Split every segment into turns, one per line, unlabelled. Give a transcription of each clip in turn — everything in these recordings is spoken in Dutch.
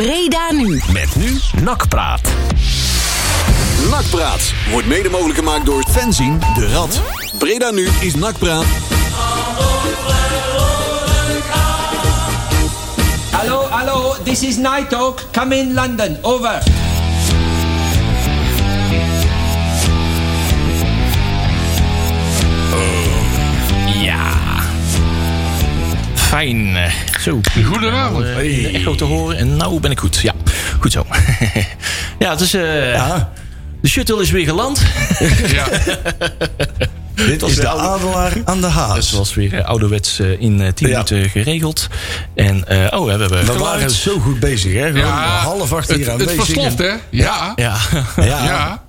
Breda nu.
Met nu Nakpraat.
Nakpraat wordt mede mogelijk gemaakt door Fenzin de Rad. Breda nu is Nakpraat.
Hello, hello, this is Night Talk. Come in London. Over.
Ja. Fijn. eh, Zo.
Goedenavond.
Nou, eh, de echo te horen. En nou ben ik goed. Ja, goed zo. ja, het is... eh,
Ah,
De shuttle is weer geland.
Ja.
Dit
Is de adelaar aan de
Het
haas.
was weer eh, ouderwets eh, in eh, 10
Ja.
minuten geregeld. En, eh, oh, we hebben
We
geluid.
waren zo goed bezig, hè? Gewoon half acht
het,
hier
het
aanwezig.
versloft, hè? Ja.
Ja.
Ja,
Ja.
ja.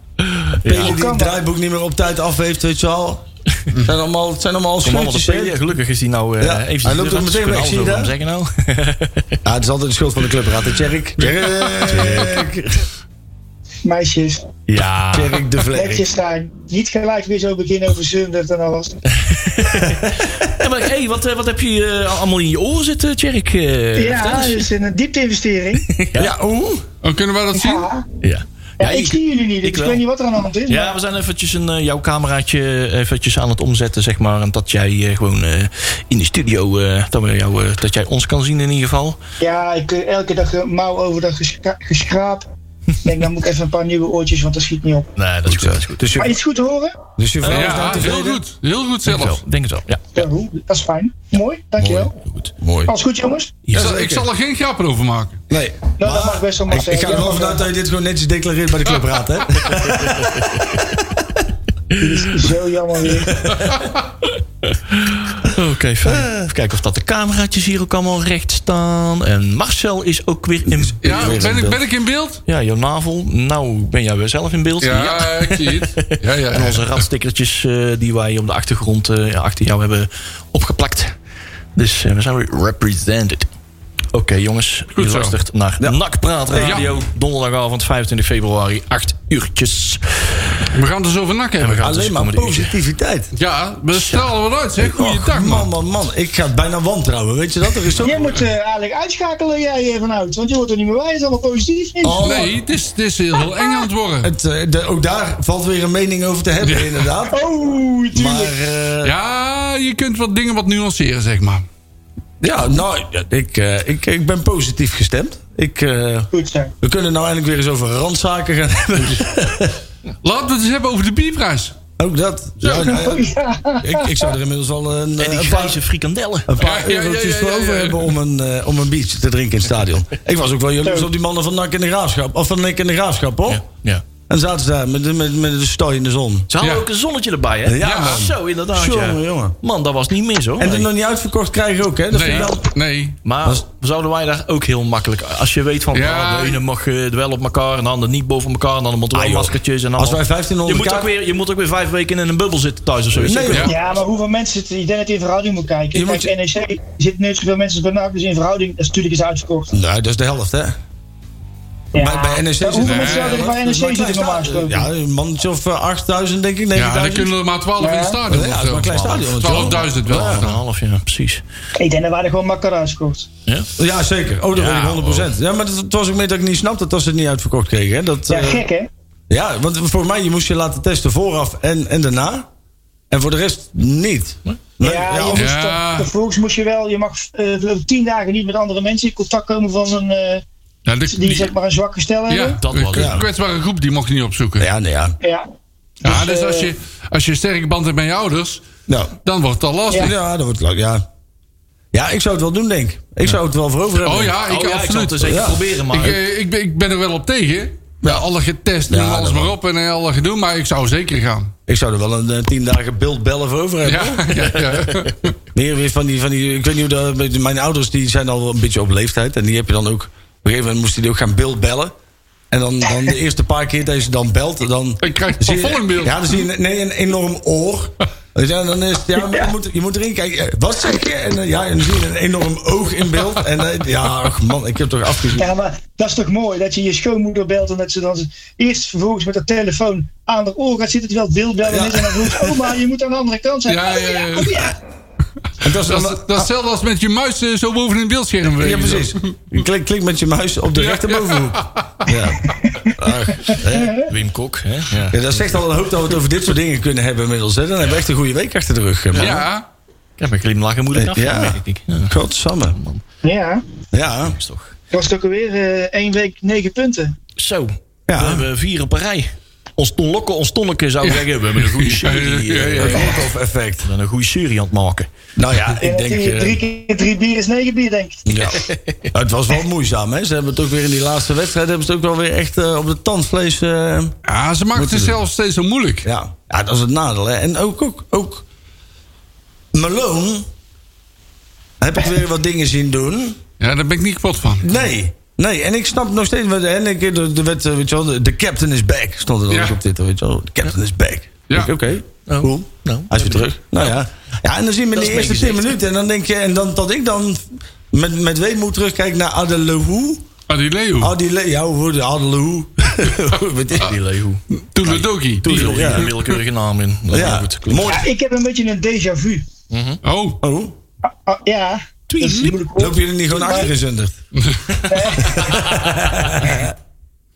Pele die het draaiboek niet meer op tijd af heeft, weet je wel. Het zijn allemaal, het zijn allemaal
Kom allemaal
schultjes,
op
hè?
Pele. Gelukkig is hij nou eh
Ja.
even...
Hij loopt ook meteen weg, zie je
Waarom zeggen nou?
Ja, het is altijd de schuld van de clubraad, hè, Tjerk? Tjerk!
Meisjes,
ja.
Tjerk de
netjes
Vleer.
zijn. Niet gelijk weer zo beginnen over Zundert en alles.
Hey, maar, hey, wat, eh, wat heb je eh, allemaal in je oren zitten, Tjerk? Eh, vertel
ja, dus-
eens.
dat is een diepte-investering.
Ja, oeh.
Oh, kunnen wij dat zien?
Ja.
Ja.
Ja,
Ja,
ik,
ik-
zie jullie niet, dus
ik
ik,
wel.
weet niet wat er aan de hand is.
Ja,
maar
we zijn eventjes een, eh, jouw cameraatje eventjes aan het omzetten, zeg maar. En dat jij eh, gewoon eh, in de studio, eh, dat, we jou, eh, dat jij ons kan zien in ieder geval.
ja ik eh, elke dag eh, mouw over dat geschra- geschraap. ik denk, dan moet ik even een paar nieuwe oortjes, want dat schiet niet op.
Nee, dat is goed. eh, Dat is goed.
Dus
Maar
je,
iets goed te horen?
dus je vrouw is nou
Ja, heel
tevreden?
goed. Heel
Denk het
goed
wel,
zelfs.
denk het wel. Ja,
Ja, hoe? dat is fijn. Mooi, dankjewel.
goed.
Mooi.
Alles goed, jongens?
Ik
Ja.
zal- Ik zal er geen grappen over maken.
Nee.
Nou, dat mag best wel
Ik,
mag
ik ga
zijn.
er wel
Ja,
vanuit dat je dit gewoon netjes declareert bij de clubraad, hè?
dat is Zo jammer weer.
Oké, fijn. Even kijken of dat de cameraatjes hier ook allemaal recht staan. En Marcel is ook weer in...
Ja, ben ik, ben ik in beeld?
Ja, jouw navel. Nou, ben jij weer zelf in beeld.
Ja, ik zie het. Ja, ja,
En
ja.
onze radstickertjes eh, die wij op de achtergrond eh, ja, achter jou hebben opgeplakt. Dus eh, we zijn weer represented. Oké jongens,
Goed
je
zo.
luistert naar Nakpraat Radio.
Ja.
Donderdagavond 25 februari, 8 uurtjes.
We gaan het dus over nak hebben.
we gaan- het is
Alleen maar
komende uurtje.
positiviteit.
Ja, we stralen wat uit, zeg. Goeiedag,
Och,
man.
Man, man, man. Ik ga het bijna wantrouwen, weet je dat? Er is zo...
Jij moet eh, eigenlijk uitschakelen, jij eh, vanuit. Want je wordt er niet meer bij, het is allemaal positief. Niet?
Oh,
Nee, het is, het is heel eng aan het worden.
Het, eh, de- ook daar valt weer een mening over te hebben,
Ja.
inderdaad.
Oh, tuurlijk.
Maar eh,
Ja, je kunt wat dingen wat nuanceren, zeg maar.
ja, nou, ik, eh, ik, ik ben positief gestemd. Ik, eh,
Goed zijn.
we kunnen nou eindelijk weer eens over randzaken gaan hebben.
Laten we het eens hebben over de bierprijs.
Ook dat. Ja, nou ja,
Ja.
ik, ik zou er inmiddels al een,
En
eh,
die
een paar,
grijze frikandellen.
een paar
Ja, ja, ja,
eurotjes
ja,
voor
ja, ja.
over hebben om een, eh, om een biertje te drinken in het stadion. Ik was ook wel jaloers op die mannen van NAC in de Graafschap. Of van NAC in de Graafschap, hoor.
Ja. ja.
En zaten ze daar met, de- met, met de stooi in de zon.
Ze hadden
Ja.
ook een zonnetje erbij, hè?
Ja, man.
Zo, inderdaad. ja.
Jongen, jongen.
Man, dat was niet mis, hoor.
En die
Nee.
nog niet uitverkocht krijgen ook, hè? Dat
Nee,
vind ik wel...
nee.
Maar zouden wij daar ook heel makkelijk... Als je weet van,
Ja.
ja, de ene mag eh, wel op elkaar... en de ander niet boven elkaar... en dan moeten we
Ah, joh.
maskertjes en
Als
allemaal-
wij
je
1500
moet, ook
kaart-
weer, je moet ook weer vijf weken in een bubbel zitten thuis of zoiets. Ja.
Nee, joh.
Ja, maar hoeveel mensen het, ik denk dat je in verhouding moet kijken.
Je
Kijk, NEC zit net zoveel mensen als bij NAC, dus in verhouding is natuurlijk is uitverkocht.
Nee, dat is de helft, hè?
Ja.
Bij, bij NEC
Ja,
zitten
hoeveel mensen zouden er bij NEC zitten normaal gesproken?
Ja, een mannetje of eh, 8000, denk ik.
Ja, dan
9000.
kunnen er maar 12 in het
Ja.
stadion.
Ja,
of
het is maar een klein
zo.
stadion, want
12.000 wel.
Ja, een half, ja, precies.
Ik denk dat waren gewoon makkelijk uitverkocht.
Ja, zeker. Oh, dat
Ja,
weet ik 100%. Ja, maar dat, het was ook meer dat ik niet snapte dat ze het niet uitverkocht kregen. Hè? Dat,
Ja,
eh,
gek hè?
ja, want voor mij, je moest je laten testen vooraf en, en daarna. En voor de rest niet. Nee,
ja, je
ja,
moest,
Ja.
toch- Vervolgens moest je wel, je mag eh tien dagen niet met andere mensen in contact komen van een, eh,
Ja, de-
die zeg maar een zwak gestel
ja,
hebben.
Dat was het.
eh, een kwetsbare groep, die mocht je niet opzoeken.
ja, nee, ja.
Ja.
Ja,
Dus,
dus als
eh,
je, als je een sterke band hebt met je ouders,
Nou,
dan wordt het al lastig.
ja, dat wordt leuk, ja. Ja, ik zou het wel doen, denk ik. Ik zou het wel voor over hebben.
Oh ja, ik
Oh, ja, ik zal
absoluut.
het eens even
Ja.
proberen, maar...
ik, eh, ik, ben- ik ben er wel op tegen. Ja, alle getest en
Ja,
alles
dat
maar
wel.
op en eh, alle gedoe, maar ik zou zeker gaan.
Ik zou er wel een eh, tien dagen beeld bellen voor over hebben.
Ja, ja, ja.
Meer weer van die, van die, ik weet niet hoe dat, mijn ouders die zijn al een beetje op leeftijd. En die heb je dan ook, op een gegeven moment moesten die ook gaan beeld bellen. En dan, dan de eerste paar keer dat je ze dan belt, dan...
Ik krijg
zie je-
van vol in beeld.
Ja, dan zie je nee, een enorm oor. Dus ja, dan is het, ja, maar Je, moet, je moet erin kijken. Eh, Wat zeg je? En eh, ja, en dan zie je een enorm oog in beeld. En eh, ja, ach, man, ik heb toch afgezien.
Ja, maar dat is toch mooi dat je je schoonmoeder belt en dat ze dan eerst vervolgens met de telefoon aan "Oh, haar oor gaat zitten terwijl het beeld bellen is en dan roept oma, je moet aan de andere kant zijn.
Ja, ja, ja.
Oh, ja.
En dat is
Dat,
dan,
is- dat is hetzelfde als met je muis eh, zo boven in het beeldscherm. eh,
ja,
bewegen.
precies. Klik, klik met je muis op de rechterbovenhoek. Ja. Ach, hè.
Wim Kok, hè? Ja.
Ja, dat zegt al een hoop dat we het over dit soort dingen kunnen hebben inmiddels. Hè. Dan hebben we echt een goede week achter de rug. Man.
Ja,
Ik heb een glimlach en moeilijk
Ja.
afgaan, denk ik. Ja,
Godsamme.
Ja,
Ja.
is toch.
het was toch alweer eh één week negen punten.
Zo,
Ja.
we hebben vier op een rij. Ons Ton Lokke, ons Tonneke zou zeggen, we hebben een goede serie.
Ja,
eh,
ja, ja.
We
Of effect.
zijn een goede serie aan het maken.
Nou ja,
Ik
ik denk...
die,
eh,
drie keer drie bier is negen bier, denk ik.
ja. Nou, het was wel moeizaam, hè? Ze hebben het ook weer in die laatste wedstrijd... hebben ze het ook wel weer echt eh, op de tandvlees... eh,
ja ze maakt
Moeten
het zelf steeds zo moeilijk.
Ja. ja, dat is het nadeel. Hè. En ook, ook, ook Malone heb ik weer wat dingen zien doen.
Ja, daar ben ik niet kapot van.
Nee, nee. En ik snap nog steeds... wat- En ik, er, er werd, eh, weet je wel, de, de captain is back. Stond er dan
Ja.
ook op dit, weet je wel. De captain is back.
Ja.
Ik, Oké, cool.
Nou,
Hij is weer terug. Nou ja. Ja, en dan zien we
Dat
de
is
eerste
meegezegd.
10 minuten. En dan denk je... En dan, dat ik dan met, met weemoed terugkijk naar Adelou.
Maar die Leo,
Adele, ja, hoe Adelou. Wat is die?
Die Leeuw.
toen de Doki.
Die
Toedelo,
wil
ja.
een willekeurige naam in. Dat is
Ja,
goed. Klopt.
mooi.
Ja, ik heb een beetje een déjà vu.
Oh,
Oh,
Ah, ja, dat is moeilijk
loop
woord.
je er niet gewoon achter gezunderd?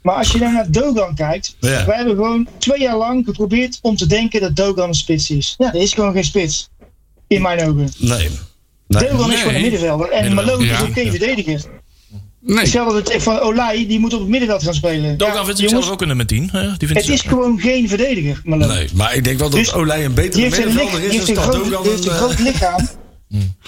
Maar als je dan naar Dogan kijkt,
Ja.
wij hebben gewoon twee jaar lang geprobeerd om te denken dat Dogan een spits is. Ja, dat is gewoon geen spits. In mijn ogen.
Nee.
Dogan is gewoon een middenvelder en Malone is
ja.
ook geen verdediger.
nee.
Hetzelfde met- van Olij, die moet op het middenveld gaan spelen.
Dogan
Ja,
vindt
jongens,
zichzelf ook een nummer 10. hè? Die vindt
Het is
zichzelf-
gewoon geen verdediger, Malone.
Nee, maar ik denk wel dat
Dus-
Olij een betere
Die heeft een, lich-
middenvelder
die
is
heeft een,
dan ook
groot,
eh,
die heeft een
al
groot lichaam.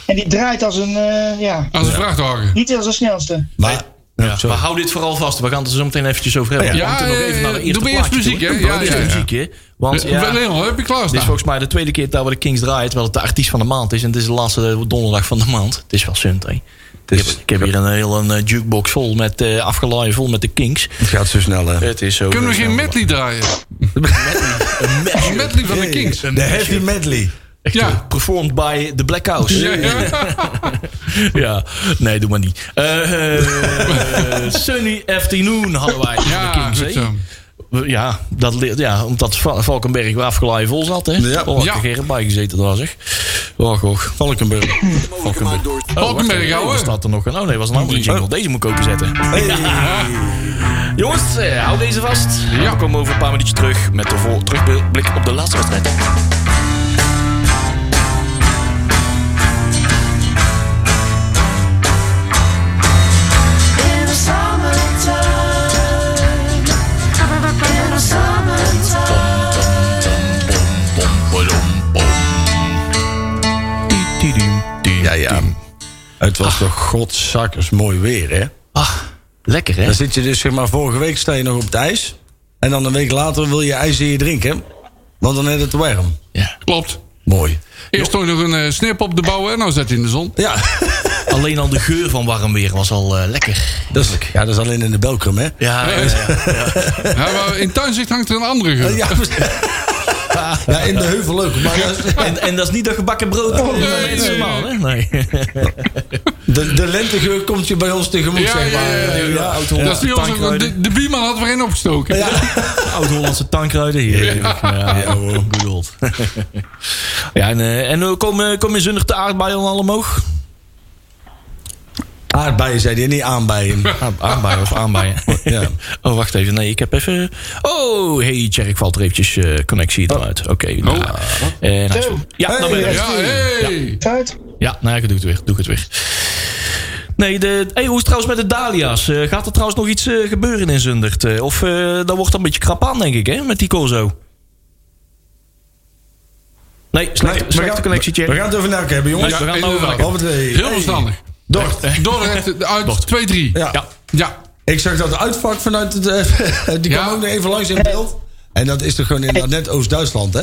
En die draait als een, eh, ja,
Als een vrachtwagen.
niet als de snelste.
Maar,
Ja, maar hou dit vooral vast. We gaan het er zo meteen eventjes over hebben.
Ja,
We moeten
ja,
nog
ja,
even naar de
ja.
eerste
Doe maar eerst
plaatje toe.
muziek, hè?
Doe maar
Ja,
eerst
ja, ja.
muziek, hè? Want ja, dit
Leon, Eh, heb je
is
klaarstaan?
volgens mij de tweede keer dat we de Kings draaien... terwijl het de artiest van de maand is. En het is de laatste donderdag van de maand. Het is wel sunt, hè? Ik heb, ik heb hier een hele een, eh, jukebox vol met eh afgelaaien vol met de Kings.
het gaat zo snel, hè.
Het is zo. eh,
Kunnen we
zo-
geen medley draaien? Een medley van de Kings.
De heavy medley.
Echt,
Ja.
eh, Performed by the Black House.
Ja, ja.
Ja, nee, doe maar niet. Eh, eh, Sunny Afternoon hadden wij van
Ja,
de Kings.
goed
hè? Oh,
zo.
We- Ja, dat, li- ja, omdat Va- Valkenberg weer afgeladen vol zat. Hè?
Ja.
Oh, had
Ja.
er Gerrit bij gezeten daar, zeg. Och, och.
Valkenburg.
Mogelijk gemaakt door
Oh,
Valkenberg, ouwe.
Er staat er nog een. Oh nee, was een andere jingle. Deze moet ik openzetten. Jongens, eh, hou deze vast.
Ja.
We komen over een paar minuutjes terug met de vol terugblik op de laatste wedstrijd.
In the summertime. In the summertime.
Ja, ja. Het was toch godzakkers mooi weer, hè?
Ah, lekker hè?
Dan zit je dus, zeg maar, vorige week sta je nog op het ijs. En dan een week later wil je ijs in je drinken. Want dan is het warm.
Ja.
Klopt.
Mooi.
Eerst toch nog een eh, snip op de bouwen en nou zet hij in de zon.
Ja,
Alleen al de geur van warm weer was al eh, lekker.
dat is, ja, dat is alleen in de Belkrum, hè?
Ja, ja,
Eh, Ja, maar in tuinzicht hangt er een andere geur.
Oh, Ja, ja in de heuvel ook. Maar dat is-
En, en dat is niet dat gebakken brood. Oh, nee, is normaal, hè? Nee.
de, de lentegeur komt je bij ons tegemoet,
Ja,
zeg
ja,
maar.
ja, ja, ja.
Ja,
Dat is niet onze, want de, de buurman had er een opgestoken.
Oud-Hollandse tankruiden. Heerlijk. Ja, ja, hoor. Good old. ja, en, eh, en eh, kom, eh, kom je zonnig de aardbeien al omhoog?
Aardbeien zei hij, niet aanbeien.
Aard- Aardbeien of aanbeien.
Ja.
Oh, wacht even. Nee, ik heb even... Oh, hey, Tjerk valt er eventjes eh, connectie eruit. Oké. nou, eh, nou,
Zo.
ja, dan ben ik.
Hey.
Ja, hey.
Uit.
Ja, nou ja, ik doe het weer. Doe ik het weer. Nee, de, hey, hoe is het trouwens met de Dalia's? Eh, gaat er trouwens nog iets eh, gebeuren in Zundert? Eh, of eh dat wordt een beetje krap aan, denk ik, hè? Met die Corso. Nee, slechte,
Nee,
slechte connectie,
we
Jerry.
dus gaan het over elkaar hebben, jongens.
Nee, we gaan
inderdaad.
overmaken.
Robert Lee.
Heel
Hey.
verstandig.
Dort.
Dordrecht
Dort.
uit 2-3.
Ja.
Ja.
Ja.
Ik zag dat uitvak vanuit het... eh, die
Ja.
kwam ook nog even langs in beeld. En dat is toch gewoon inderdaad net Oost-Duitsland, hè?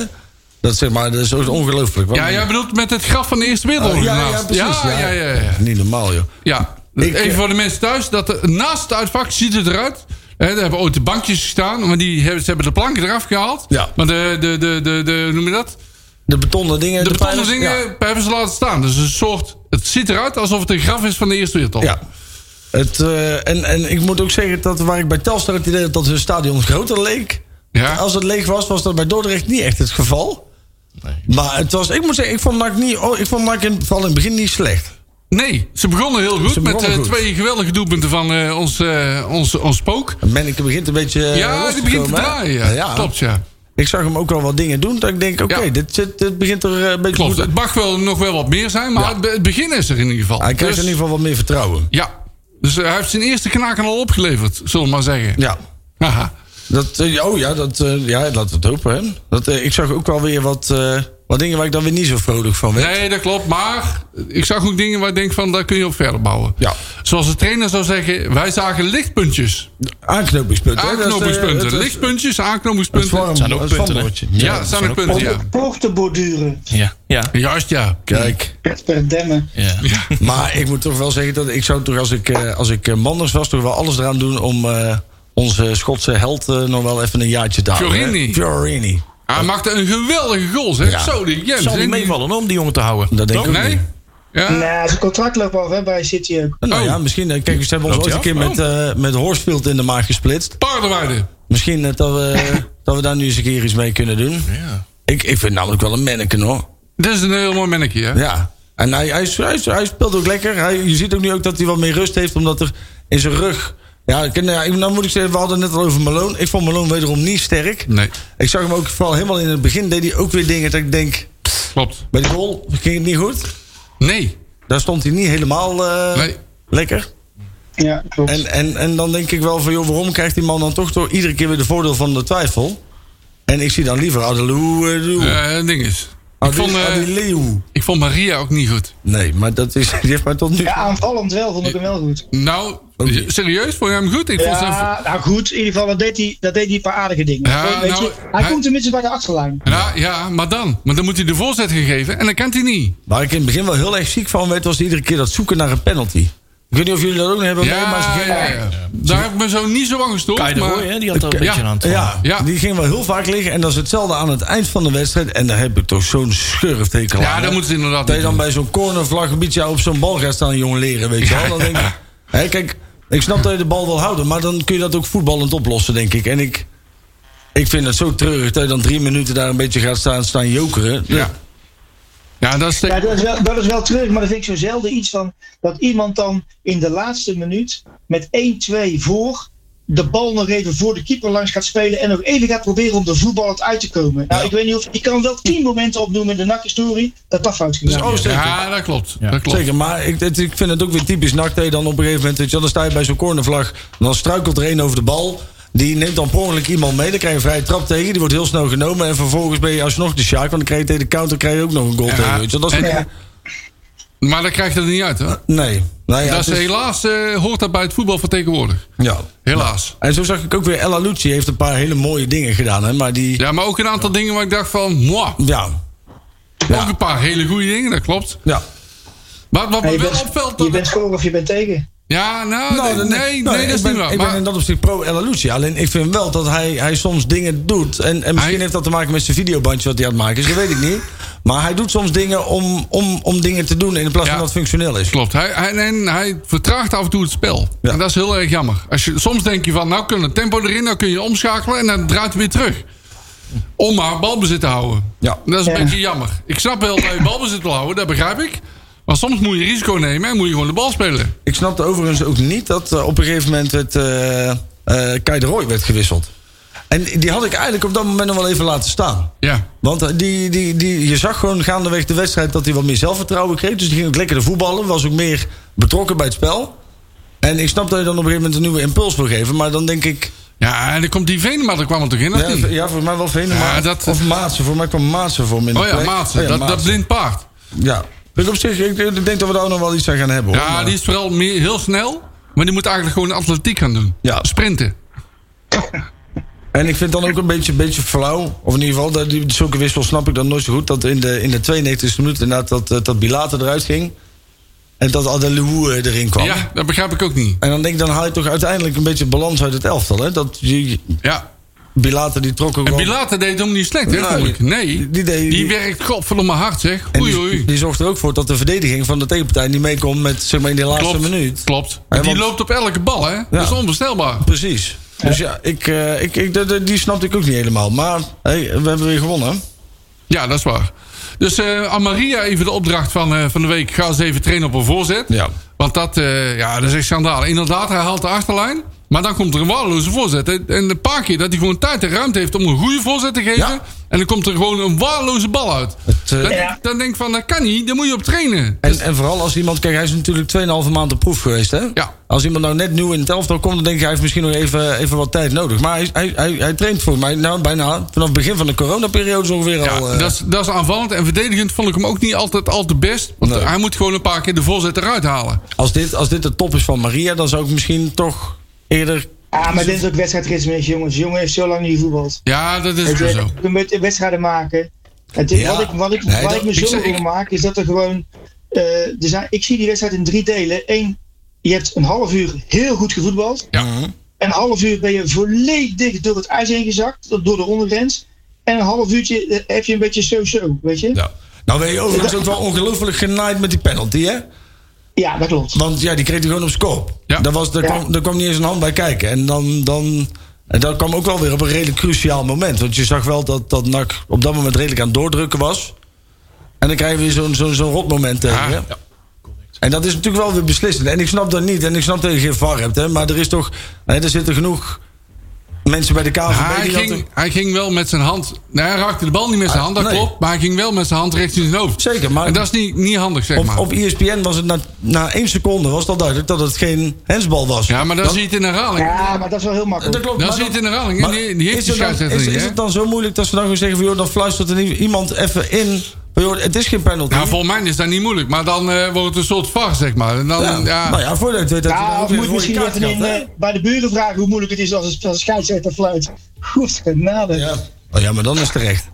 Dat, zeg maar, dat is ongelooflijk. Want-
ja, jij bedoelt met het graf van de Eerste Wereldoorlog.
ja, ja,
naast.
precies. Ja,
ja, ja, ja, ja.
Niet normaal, joh.
Ja,
Ik, eh,
even voor de mensen thuis. Dat er- naast het uitvak ziet het eruit. Hè, daar hebben ooit de bankjes gestaan. Maar die hebben, ze hebben de planken eraf gehaald.
Ja.
Maar de, de, de, de, de, hoe noem je dat?
De betonnen dingen.
De betonnen
pijlers,
dingen
Ja.
hebben ze laten staan. Dus een soort, het ziet eruit alsof het een graf is van de Eerste Wereldoorlog.
Ja. Het, eh, en, en ik moet ook zeggen dat waar ik bij Telstar het idee had dat hun stadion groter leek.
Ja.
Als het leeg was, was dat bij Dordrecht niet echt het geval. Maar het was, ik moet zeggen, ik vond Nak niet, oh, ik vond NAC in, vooral in het begin niet slecht.
Nee, ze begonnen heel goed
Ze
met
begonnen
eh,
goed.
twee geweldige doelpunten van eh, ons, eh, ons, ons spook.
Menneke begint een beetje. eh,
ja,
los
die begint te
komen, hè?
draaien. Ja. Klopt, ja.
Ik zag hem ook al wat dingen doen. Dat ik denk, oké,
Ja.
dit, zit- dit begint er eh, een beetje
Klopt.
goed.
Het mag wel nog wel wat meer zijn, maar het be- het begin is er in ieder geval.
Hij krijgt
Dus-
in ieder geval wat meer vertrouwen.
Ja. Dus eh, hij heeft zijn eerste knaken al opgeleverd, zullen we maar zeggen.
Ja.
Haha.
Dat, eh, oh ja, dat, eh, ja, laten we het hopen. Hè. Dat, eh, ik zag ook wel weer wat, eh, wat dingen waar ik dan weer niet zo vrolijk van werd.
Nee, dat klopt. Maar ik zag ook dingen waar ik denk van, daar kun je op verder bouwen.
Ja.
Zoals de trainer zou zeggen, wij zagen lichtpuntjes.
Aanknopingspunten. hè. Dat is, eh,
Aanknopingspunten.
dat is-
Lichtpuntjes,
dat is
aanknopingspunten.
warm,
zijn ook
dat is
punten, hè?
warmwoordje.
Ja,
dat
zijn
zijn
ook
ook
punten, ja.
Poorten borduren.
Ja. ja.
Juist, ja.
Kijk,
Per demmen.
ja.
maar ik moet toch wel zeggen dat ik zou toch als ik, eh, als ik eh, Manders was, toch wel alles eraan doen om eh, onze Schotse held eh, nog wel even een jaartje te houden. hè.
Fiorini.
Fiorini.
Hij maakte een geweldige goal, zeg.
Ja.
Zo, die Jens.
Zal
hè,
niet
die-
meevallen hoor, om die jongen te houden.
Dat denk ik ook
Nee?
niet.
Ja.
Nou, zijn contract loopt af hè, bij City ook.
Nou
Oh.
ja, misschien. eh, Kijk, ze hebben ons
Loopt
ooit een
hij
keer
af? Oh.
met, eh met Horsfield in de maag gesplitst.
Paardenweide.
Misschien eh, dat, we, dat we daar nu eens een keer iets mee kunnen doen. Ik, ik vind namelijk wel een manneken hoor.
Dat is een heel mooi mannetje, hè?
Ja. En hij, hij, hij, hij speelt ook lekker. Hij, je ziet ook nu ook dat hij wat meer rust heeft, omdat er in zijn rug. Ja, ik, nou, ja, ik- nou moet ik zeggen, we hadden het net al over Malone. Ik vond Malone wederom niet sterk.
Nee,
Ik zag hem ook vooral helemaal in het begin. Deed hij ook weer dingen dat ik denk.
klopt.
Bij de goal ging het niet goed.
Nee.
Daar stond hij niet helemaal eh,
Nee.
lekker.
Ja, klopt.
En, en, en dan denk ik wel van, joh, waarom krijgt die man dan toch door iedere keer weer de voordeel van de twijfel? En ik zie dan liever Adelou. eh
Eh, ding is. Ik vond,
Adelou.
eh,
Adeleu.
ik vond Maria ook niet goed.
Nee, maar dat is, die heeft mij tot nu.
Ja, aanvallend wel, vond ik hem wel goed.
Nou,
niet.
serieus? Vond je hem goed? Ik vond zijn...
Ja, nou goed, in ieder geval, dat deed hij, dat deed hij een paar aardige dingen.
Ja,
Weet je,
nou,
hij,
hij-
komt tenminste bij de achterlijn.
Ja, ja, maar dan. Maar dan moet hij de voorzet gegeven en dan kan hij niet.
Waar ik in het begin wel heel erg ziek van werd, was iedere keer dat zoeken naar een penalty. Ik weet niet of jullie dat ook nog hebben.
Ja,
maar ze
ja,
gingen-
ja, Daar heb ik me zo niet zo aan gestoord.
Kai de
maar...
Roy, hè, die had daar een
Ja.
beetje aan het vallen.
Ja,
Ja.
die ging wel heel vaak liggen. En dat is hetzelfde aan het eind van de wedstrijd. En daar heb ik toch zo'n schurftekel aan.
Ja,
hè.
dat moeten ze inderdaad
Dat je
niet
dan
doen.
bij zo'n cornervlag een beetje op zo'n bal gaat staan, jong leren, weet je wel. Dan denk ik, hè, kijk, ik snap dat je de bal wil houden, maar dan kun je dat ook voetballend oplossen, denk ik. En ik, ik vind het zo treurig dat je dan drie minuten daar een beetje gaat staan, staan jokeren.
Ja. Ja, dat is...
Ja, dat is, wel, dat is wel terug, maar dat vind ik zo zelden iets van dat iemand dan in de laatste minuut met 1-2 voor de bal nog even voor de keeper langs gaat spelen en nog even gaat proberen om de voetballend uit te komen. Nou, ik weet niet of ik kan wel tien momenten opnoemen in de NAC-historie dat dat fout ging.
Dus, oh, zeker.
Ja, dat klopt. Dat klopt.
Zeker, maar ik, het- ik vind het ook weer typisch NAC dat je dan op een gegeven moment... weet je wel, dan sta je bij zo'n cornervlag, dan struikelt er één over de bal... Die neemt dan per ongeluk iemand mee. Dan krijg je een vrije trap tegen. Die wordt heel snel genomen. En vervolgens ben je alsnog de Sjaak. Want dan krijg je tegen de counter krijg je ook nog een goal
Ja,
tegen. Weet je. wel. Dat is
en- Maar dat krijgt er niet uit, hè?
nee. Nou ja,
dat
het
is, helaas eh, hoort dat bij het voetbal van tegenwoordig.
ja.
Helaas.
En zo zag ik ook weer, Ella Lucci heeft een paar hele mooie dingen gedaan. Hè, maar die, ja.
Ja, maar ook een aantal dingen waar ik dacht van... Mwah.
Ja,
Ook een paar hele goede dingen, dat klopt.
ja.
Maar wat
Ja,
me
je,
wel
bent,
opvalt...
je
dat-
bent voor of je bent tegen.
Ja, nou,
Nou,
nee,
dan-
nee, nee,
nou,
dat
ik
is
ben,
niet waar.
Ik ben
Maar,
in dat opzicht pro Ella Lucci. Alleen ik vind wel dat hij, hij soms dingen doet. En, en misschien
Hij-
heeft dat te maken met zijn videobandje wat hij aan het maken is. Dat weet ik niet. Maar hij doet soms dingen om, om, om dingen te doen in plaats
Ja.
van dat het functioneel is.
Klopt, hij, hij, en hij vertraagt af en toe het spel.
Ja.
En dat is heel erg jammer. Als je, soms denk je van, nou kun je het tempo erin, nou kun je omschakelen... en dan draait hij weer terug. Om maar balbezit te houden.
Ja.
Dat is een
Ja.
beetje jammer. Ik snap wel dat je balbezit wil houden, dat begrijp ik. Maar soms moet je risico nemen en moet je gewoon de bal spelen.
Ik snapte overigens ook niet dat eh, op een gegeven moment het eh eh, Kai de Roy werd gewisseld. En die had ik eigenlijk op dat moment nog wel even laten staan.
Ja.
Want eh, die, die, die, je zag gewoon gaandeweg de wedstrijd dat hij wat meer zelfvertrouwen kreeg. Dus die ging ook lekkerder voetballen. Was ook meer betrokken bij het spel. En ik snap dat je dan op een gegeven moment een nieuwe impuls wil geven. Maar dan denk ik...
Ja, en dan komt die Venema, daar kwam er toch in, of
Ja,
niet?
v- ja, voor mij wel Venema.
Ja, dat-
Of Maatsen. Voor mij kwam Maatsen voor minder
Oh ja, Maatsen, dat, dat blind paard.
Ja. Dus op zich, ik, ik denk dat we daar ook nog wel iets aan gaan hebben. hoor.
Ja,
Maar-
die is vooral meer, heel snel, maar die moet eigenlijk gewoon atletiek gaan doen.
Ja.
Sprinten.
En ik vind dan ook een beetje, beetje flauw. Of in ieder geval, dat, die, zulke wissels snap ik dan nooit zo goed. Dat in de, in de 92e minuut inderdaad dat, eh, dat Bilate eruit ging. En dat Adelou eh, erin kwam.
Ja, dat begrijp ik ook niet.
En dan denk ik, dan haal je toch uiteindelijk een beetje balans uit het elftal. Hè? Dat je,
Ja.
Bilater die trok ook
En
wel-
Pilate deed hem niet slecht, hè?
Nee.
vond ik. Nee,
Die-
die,
die deed- die-
werkt godverdomme hard, zeg.
en
Oei,
die,
oei.
die zorgt er ook voor dat de verdediging van de tegenpartij niet meekomt met zeg maar in die laatste
Klopt,
minuut.
klopt.
Ja,
die
want-
loopt op elke bal, hè? Dat is onbestelbaar.
Precies. Dus ja, ik, eh, ik, ik, dat- dat- die snapte ik ook niet helemaal. Maar hey, we hebben weer gewonnen.
Ja, dat is waar. Dus eh, aan Maria even de opdracht van, eh, van de week. Ga eens even trainen op een voorzet.
Ja.
Want dat, eh, ja, dat is echt schandaal. Inderdaad, hij haalt de achterlijn. Maar dan komt er een waardeloze voorzet. En een paar keer dat hij gewoon tijd en ruimte heeft om een goede voorzet te geven.
Ja.
En dan komt er gewoon een waardeloze bal uit.
Het, eh,
Dan,
Ja.
dan denk ik van, dat kan niet. Daar moet je op trainen.
En, en vooral als iemand, kijk, hij is natuurlijk 2,5 maand op proef geweest. Hè?
Ja.
Als iemand nou net nieuw in het elftal komt, dan denk ik, hij heeft misschien nog even, even wat tijd nodig. Maar hij, hij, hij, hij traint voor mij nou, bijna vanaf het begin van de coronaperiode zo ongeveer
Ja,
al. eh,
dat, is, dat is aanvallend. En verdedigend vond ik hem ook niet altijd al te best. Want
Nee.
hij moet gewoon een paar keer de voorzet eruit halen.
als, dit, als dit de top is van Maria, dan zou ik misschien toch eerder.
Ah, maar dit is ook wedstrijdritme, jongens. Jongen heeft zo lang niet gevoetbald.
Ja, dat is
Weet
wel
je,
zo.
je moet wedstrijden maken. Het is-
Ja.
Wat ik, wat ik,
Nee,
waar
dat-
ik me
ik zeg-
zorgen
ik-
over maak, is dat er gewoon. eh, er zijn, ik zie die wedstrijd in drie delen. Eén, je hebt een half uur heel goed gevoetbald.
Ja.
Mhm.
En een half uur ben je volledig door het ijs heen gezakt, door de ondergrens. En een half uurtje eh, heb je een beetje zo-zo, weet je? Ja.
Nou ben je overigens ook wel ongelooflijk genaaid met die penalty, hè?
dat klopt.
Want ja, die kreeg hij gewoon op scope.
Ja.
Daar, was, daar,
Ja.
kwam, daar kwam niet eens een hand bij kijken. En dan, dan, en dat kwam ook wel weer op een redelijk cruciaal moment. Want je zag wel dat, dat NAC op dat moment redelijk aan het doordrukken was. En dan krijg je weer zo'n zo'n zo'n rotmoment tegen.
Ah,
hè?
ja.
En dat is natuurlijk wel weer beslissend. En ik snap dat niet. En ik snap dat je geen VAR hebt. Hè? Maar er is toch... Hè, er zitten genoeg mensen bij de KVB
Hij
die dat...
Ah, ging, hij ging wel met zijn hand. Nou, hij raakte de bal niet met zijn hand, dat
Ah, nee.
klopt. Maar hij ging wel met zijn hand richting zijn hoofd.
Zeker, maar-
En dat is niet, niet handig, zeg maar.
Op, E op ESPN was het na, na één seconde was het al duidelijk dat het geen hensbal was.
ja, maar dan, zie je het in de herhaling.
Ja, maar dat is wel heel makkelijk.
Dat klopt.
Dan
maar
zie je het in de herhaling.
Maar
Die, die heeft
is,
die
het dan,
scheidsrechter
is,
niet,
is
hè?
het dan zo moeilijk dat ze dan gewoon zeggen van... joh, dan fluistert er nie- iemand even in... van, joh, het is geen penalty.
Nou, volgens mij is dat niet moeilijk. Maar dan eh, wordt het een soort var, zeg maar. En dan,
ja.
mm, ja.
Nou ja, voordat je het weet dat je
Ja,
dan ook
of
weer
moet
een rode
misschien
kaart
even in,
krijgt, hè?
eh, bij de buren vragen hoe moeilijk het is als een, als een scheidsrechter fluit. Goed genade.
Ja. Oh, ja, maar dan is het terecht.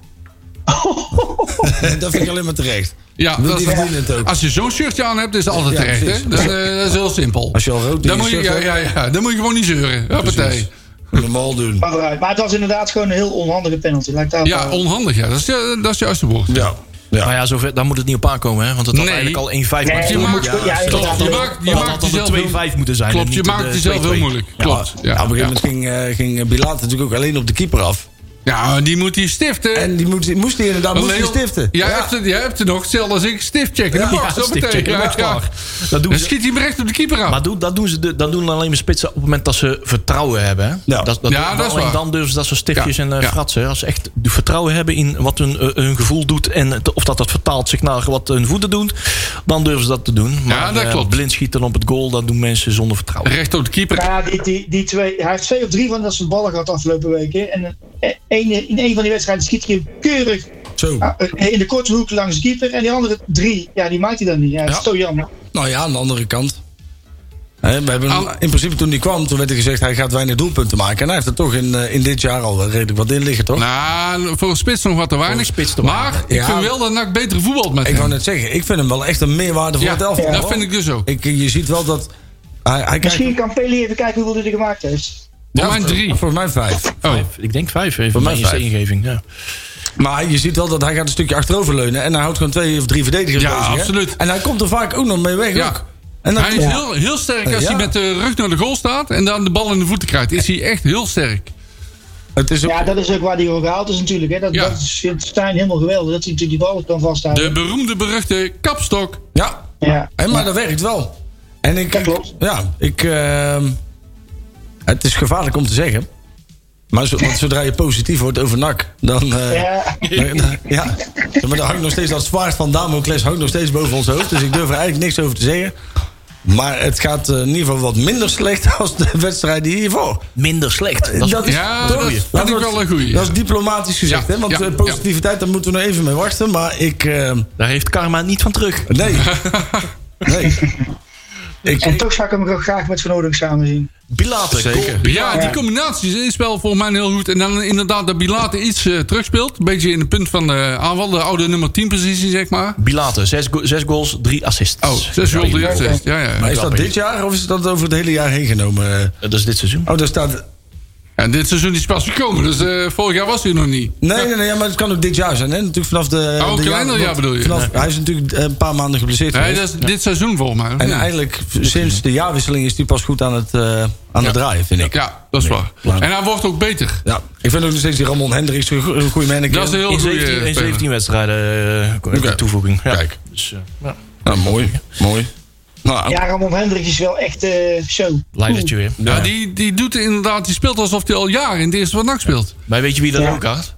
dat vind ik alleen maar terecht.
Ja,
Want
dat
die
is-
verdienen het ook.
Als je zo'n shirtje aan hebt, is het altijd
Ja,
terecht, hè?
precies.
Dat, is, eh, dat is heel simpel.
Als je al rood in
dan
je
moet je,
shirt
ja, ja, ja, dan moet je gewoon niet zeuren. Hoppatee.
Normaal doen.
Maar, vooruit. maar het was inderdaad gewoon een heel onhandige penalty. Laat ik daar
Ja, onhandig, ja. Dat is, eh, dat is juist de woord.
Ja. ja.
Maar ja, zover, daar moet het niet op aankomen, hè? Want het had
Nee.
eigenlijk al 1-5
Nee,
Je
Ja,
maakt,
ja, inderdaad.
je maakt, je
Dat
maakt
had altijd
jezelf
een
heel-
2-5 moeten zijn. en
Klopt, je
niet eh,
maakt
de
jezelf heel
2-2.
moeilijk. Klopt.
Ja,
Ja,
op een
ja.
gegeven moment ging, eh, ging Bilaat natuurlijk ook alleen op de keeper af.
Ja, nou, die moet hij stiften.
En die moest, moest die inderdaad moest die
Leo,
stiften.
Jij, Hebt het, jij hebt het nog, hetzelfde als ik, stiftcheck in de
Ja,
box.
ja,
dat
stiftcheck
betekent-
in de box,
ja,
klaar.
ja.
Dat doen
Dan
ze-
schiet hij hem recht op de keeper aan.
Maar doe, dat, doen ze, de- dat doen alleen maar spitsen op het moment dat ze vertrouwen hebben. Hè?
Ja.
dat, dat,
Ja, dat is
alleen
waar.
dan durven ze dat soort stiftjes
Ja,
en eh
ja.
fratsen. Als ze echt vertrouwen hebben in wat hun, eh, hun gevoel doet... en het- of dat dat vertaalt zich naar wat hun voeten doen... dan durven ze dat te doen. Maar
dat
eh,
klopt.
blind schieten op het goal... dat doen mensen zonder vertrouwen.
Recht op de keeper.
Ja, die, die, die twee, hij heeft twee of drie van dat soort ballen gehad afgelopen weken. En eh, een, in een van die wedstrijden schiet hij hem keurig
Zo.
ah, eh, in de korte hoek langs de keeper. En die andere drie, ja, die maakt hij dan niet. Ja, dat is
Ja.
zo jammer.
Nou ja, aan de andere kant. Hè, we hebben hem-
Aan-
in principe toen hij kwam, toen werd er gezegd... hij gaat weinig doelpunten maken. En hij heeft er toch in, eh, in dit jaar al wel redelijk wat in liggen, toch?
Nou, voor een spits nog wat te weinig.
een spits te
maar
weinig.
ik
Ja.
vind wel dat NAC beter voetbalt met
ik wou
hem.
net zeggen, ik vind hem wel echt een meerwaarde voor
Ja,
het elftal.
dat
hoor.
vind ik dus ook.
Ik, je ziet wel dat... Hij, hij
Misschien
krijgt,
kan Pele even kijken hoeveel hij er gemaakt heeft.
Voor mijn drie.
Voor mij vijf.
Oh.
Ik denk vijf even
Voor mij
mijn eerste
vijf.
ingeving. Ja.
Maar je ziet wel dat hij gaat een stukje achteroverleunen... en hij houdt gewoon twee of drie verdedigers
Ja,
bezig, hè?
absoluut.
En hij komt er vaak ook nog mee weg.
Ja.
Ook. En dan,
Hij is heel, heel sterk als
Ja.
hij met de rug naar de goal staat... en dan de bal in de voeten krijgt. Is hij echt heel sterk.
het is ook,
Ja, dat is ook waar hij voor gehaald is natuurlijk. Hè. Dat,
Ja.
dat is- vindt Stijn helemaal geweldig, dat hij natuurlijk die ballen kan vasthouden.
De beroemde, beruchte kapstok.
ja.
Ja.
Hé, maar dat werkt wel. En ik,
Dat klopt.
Ja, ik. ehm, het is gevaarlijk om te zeggen. Maar zo- want zodra je positief wordt over NAC, dan. eh,
Ja.
dan- dan- ja. Maar daar hangt nog steeds dat zwaard van Damocles hangt nog steeds boven ons hoofd. Dus ik durf er eigenlijk niks over te zeggen. Maar het gaat eh, in ieder geval wat minder slecht als de wedstrijd die hiervoor.
Minder slecht. Eh, Dat is-
Dat is-
Ja,
toch?
dat is- vind ik
wordt-
wel een goeie,
Dat is
ja.
diplomatisch gezegd,
Ja,
hè? Want
ja,
eh, positiviteit, daar moeten we nog even mee wachten. Maar ik. eh,
Daar heeft karma niet van terug.
nee. nee. Ik,
En toch zou ik hem ook graag met Van Ouding samen zien.
Pilaten. Zeker.
Ja, die combinatie is wel volgens mij heel goed. En dan inderdaad dat Bilate iets eh, terugspeelt. Een beetje in het punt van de aanval. De oude nummer 10 positie, zeg maar.
Bilaten, zes, go- zes goals, drie assists.
Oh, 6 goal, 3 assist. Ja, ja.
Maar
ja.
is dat
Knap, hè?
dit jaar of is dat over het hele jaar heen genomen?
Dat is dit seizoen.
Oh, daar staat.
En dit seizoen is pas gekomen, dus eh, vorig jaar was hij nog niet.
Nee, nee, nee, ja, maar het kan ook dit jaar zijn. Hè? Natuurlijk vanaf de.
Oh,
de
kalenderjaar
jaren-
bedoel je?
Vanaf, Hij is natuurlijk eh, een paar maanden geblesseerd
Nee,
geweest.
dat is dit seizoen volgens mij.
En
Ja.
eigenlijk sinds de jaarwisseling is hij pas goed aan het, eh, aan het draaien, vind ik.
Ja, dat is waar.
laat-
En hij wordt ook beter.
Ja, ik vind ook nog steeds die Ramon Hendricks een goe- een goede manager.
Dat is een heel
In
goede
17, in
speler.
17 wedstrijden eh,
Oké.
toevoeging. Ja.
Kijk.
Dus, eh, ja.
Ja, mooi, mooi. Nou,
Ja, Ramon Hendricks is wel echt eh, zo.
Leidertje weer.
Ja, die, die doet inderdaad, die speelt alsof hij al jaren in de eerste van NAC speelt.
Maar weet je wie dat
Ja.
ook had?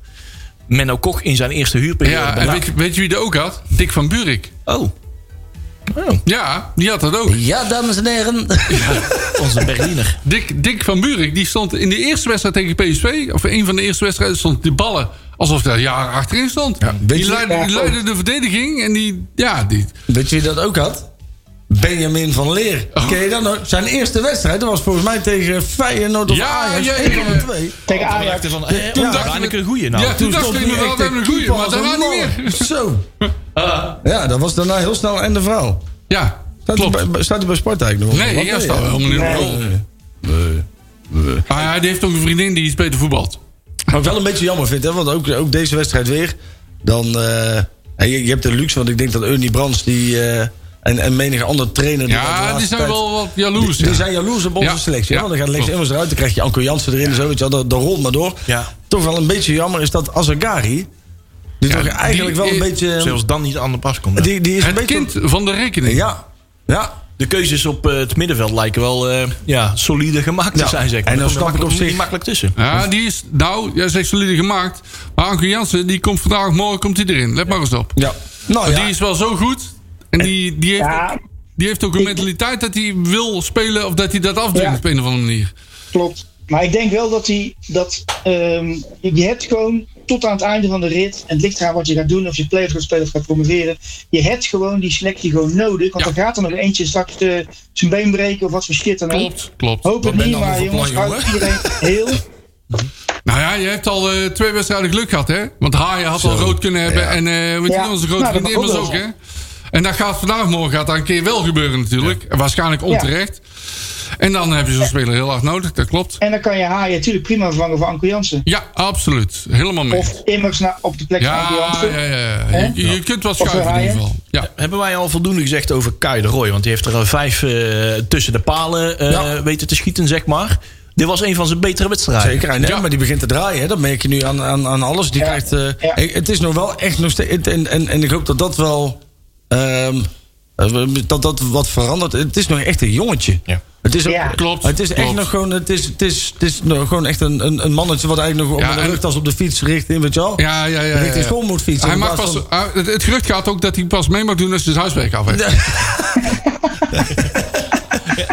Menno Kok in zijn eerste huurperiode.
Ja,
bij
en
NAC.
weet, je- weet je wie dat ook had? Dick van Burik.
Oh. Oh,
Ja, die had dat ook.
Ja, dames en heren.
onze Berliner.
Dick, Dick van Burik, die stond in de eerste wedstrijd tegen PSV, of een van de eerste wedstrijden, stond de ballen alsof hij jaren achterin stond.
weet
die,
je-
leidde, die leidde de verdediging en die, ja, die,
Weet je wie dat ook had? Benjamin van Leer.
Oh.
Ken je dat nog? Zijn eerste wedstrijd, dat was volgens mij tegen Feyenoord of
Ja,
Ajax.
ja, ja.
Eén van de twee.
Tegen
Toen
Ajax.
dachten we van, eh, toen
dachten
dacht ik
we-
een goeie nou.
ja, toen dacht ik nog wel, we hebben een goeie, maar daarna niet meer.
Zo. Ja, dat was daarna heel snel en de vrouw.
Ja,
Staat hij
klopt.
bij, staat hij bij Sparta eigenlijk nog?
Nee,
Wat?
hij staat wel helemaal niet op de goal. Maar hij heeft ook een vriendin Ah, die iets beter voetbalt.
Wat ik wel een beetje jammer vind, hè, want ook, ook deze wedstrijd weer. Dan, eh, en je, je hebt de luxe, want ik denk dat Ernie Brands die, eh, en, en menige andere trainer... dat de
Ja,
laatste
die zijn
tijd-
wel wat jaloers.
Die
ja.
zijn jaloers op onze
Ja,
selectie.
ja,
hè, want dan gaat Lex
klopt.
Immers eruit, dan krijg je Anko Jansen erin en zo. Weet je wel, dat, dat rolt maar door.
Ja.
Toch wel een beetje jammer is dat Azagari... Die
Ja,
toch
die
eigenlijk wel
is-
een beetje...
Zelfs dan niet aan de pas komt.
die, die is een
Het
beetje...
kind van de rekening.
Ja, ja.
De keuzes op eh, het middenveld lijken wel eh, ja, solide gemaakt te
Ja.
zijn, zeg maar.
En dan
Daar kom je
snap ik op
makkelijk-
zich-
niet makkelijk tussen.
Ja, die is, nou, jij zegt solide gemaakt. Maar Anke Jansen, die komt vandaag, morgen komt hij erin. Let maar eens op.
ja. Nou ja.
Die is wel zo goed. En die, die, heeft,
Ja,
die heeft ook een mentaliteit dat hij wil spelen... of dat hij dat afdwingt
Ja.
op een of andere manier.
klopt. Maar ik denk wel dat hij dat. ehm, je hebt gewoon tot aan het einde van de rit. En het ligt eraan wat je gaat doen. Of je playoff gaat spelen of gaat promoveren. Je hebt gewoon die selectie gewoon nodig. Want
Ja.
dan gaat er nog eentje straks eh, zijn been breken. Of wat voor shit dan ook.
Klopt, klopt.
Hoop het
ben
niet,
je dan
maar
voor
jongens,
plan,
houdt iedereen heel.
Nou ja, je hebt al eh, twee wedstrijden geluk gehad, hè? Want Haaien had al rood kunnen hebben. En eh weet je,
Ja.
onze grote
Nou, dat
vriendin
mag
was
ook
ook,
wel.
hè? En dat gaat vandaag, morgen gaat dat een keer wel gebeuren natuurlijk. En Waarschijnlijk onterecht. En dan heb je zo'n speler heel hard nodig, dat klopt.
En dan kan je Haaien natuurlijk prima vervangen voor Anko Jansen.
Ja, absoluut. Helemaal mee.
Of immers na, op de plek van
Ja,
Anko
ja,
Jansen.
ja.
Hè?
Je, je kunt wat
Of
schuiven in ieder
Haaien.
geval. Ja.
Hebben wij al voldoende gezegd over Kai de Roy? Want die heeft er eh, vijf eh, tussen de palen eh, weten te schieten, zeg maar. Dit was een van zijn betere wedstrijden.
Zeker, en, maar die begint te draaien. Hè? Dat merk je nu aan, aan, aan alles. Die
Ja,
krijgt, eh,
ja.
ik- het is nog wel echt nog steeds... En, en, en ik hoop dat dat wel... ehm, eh, dat dat wat verandert. Het is nog echt een jongetje.
Ja.
Het is ook,
Ja.
Klopt,
Het is echt
klopt.
nog gewoon... Het is, het is, het is nog gewoon echt een, een, een mannetje... wat eigenlijk nog
Ja,
op de
en-
rugtas op de fiets richt. in, Weet je wel?
Ja, ja, ja. ja,
richting
ja.
school moet fietsen.
Hij
in
mag
plaats
pas,
van-
hij- het, het gerucht gaat ook dat hij pas mee mag doen als hij zijn huiswerk af heeft.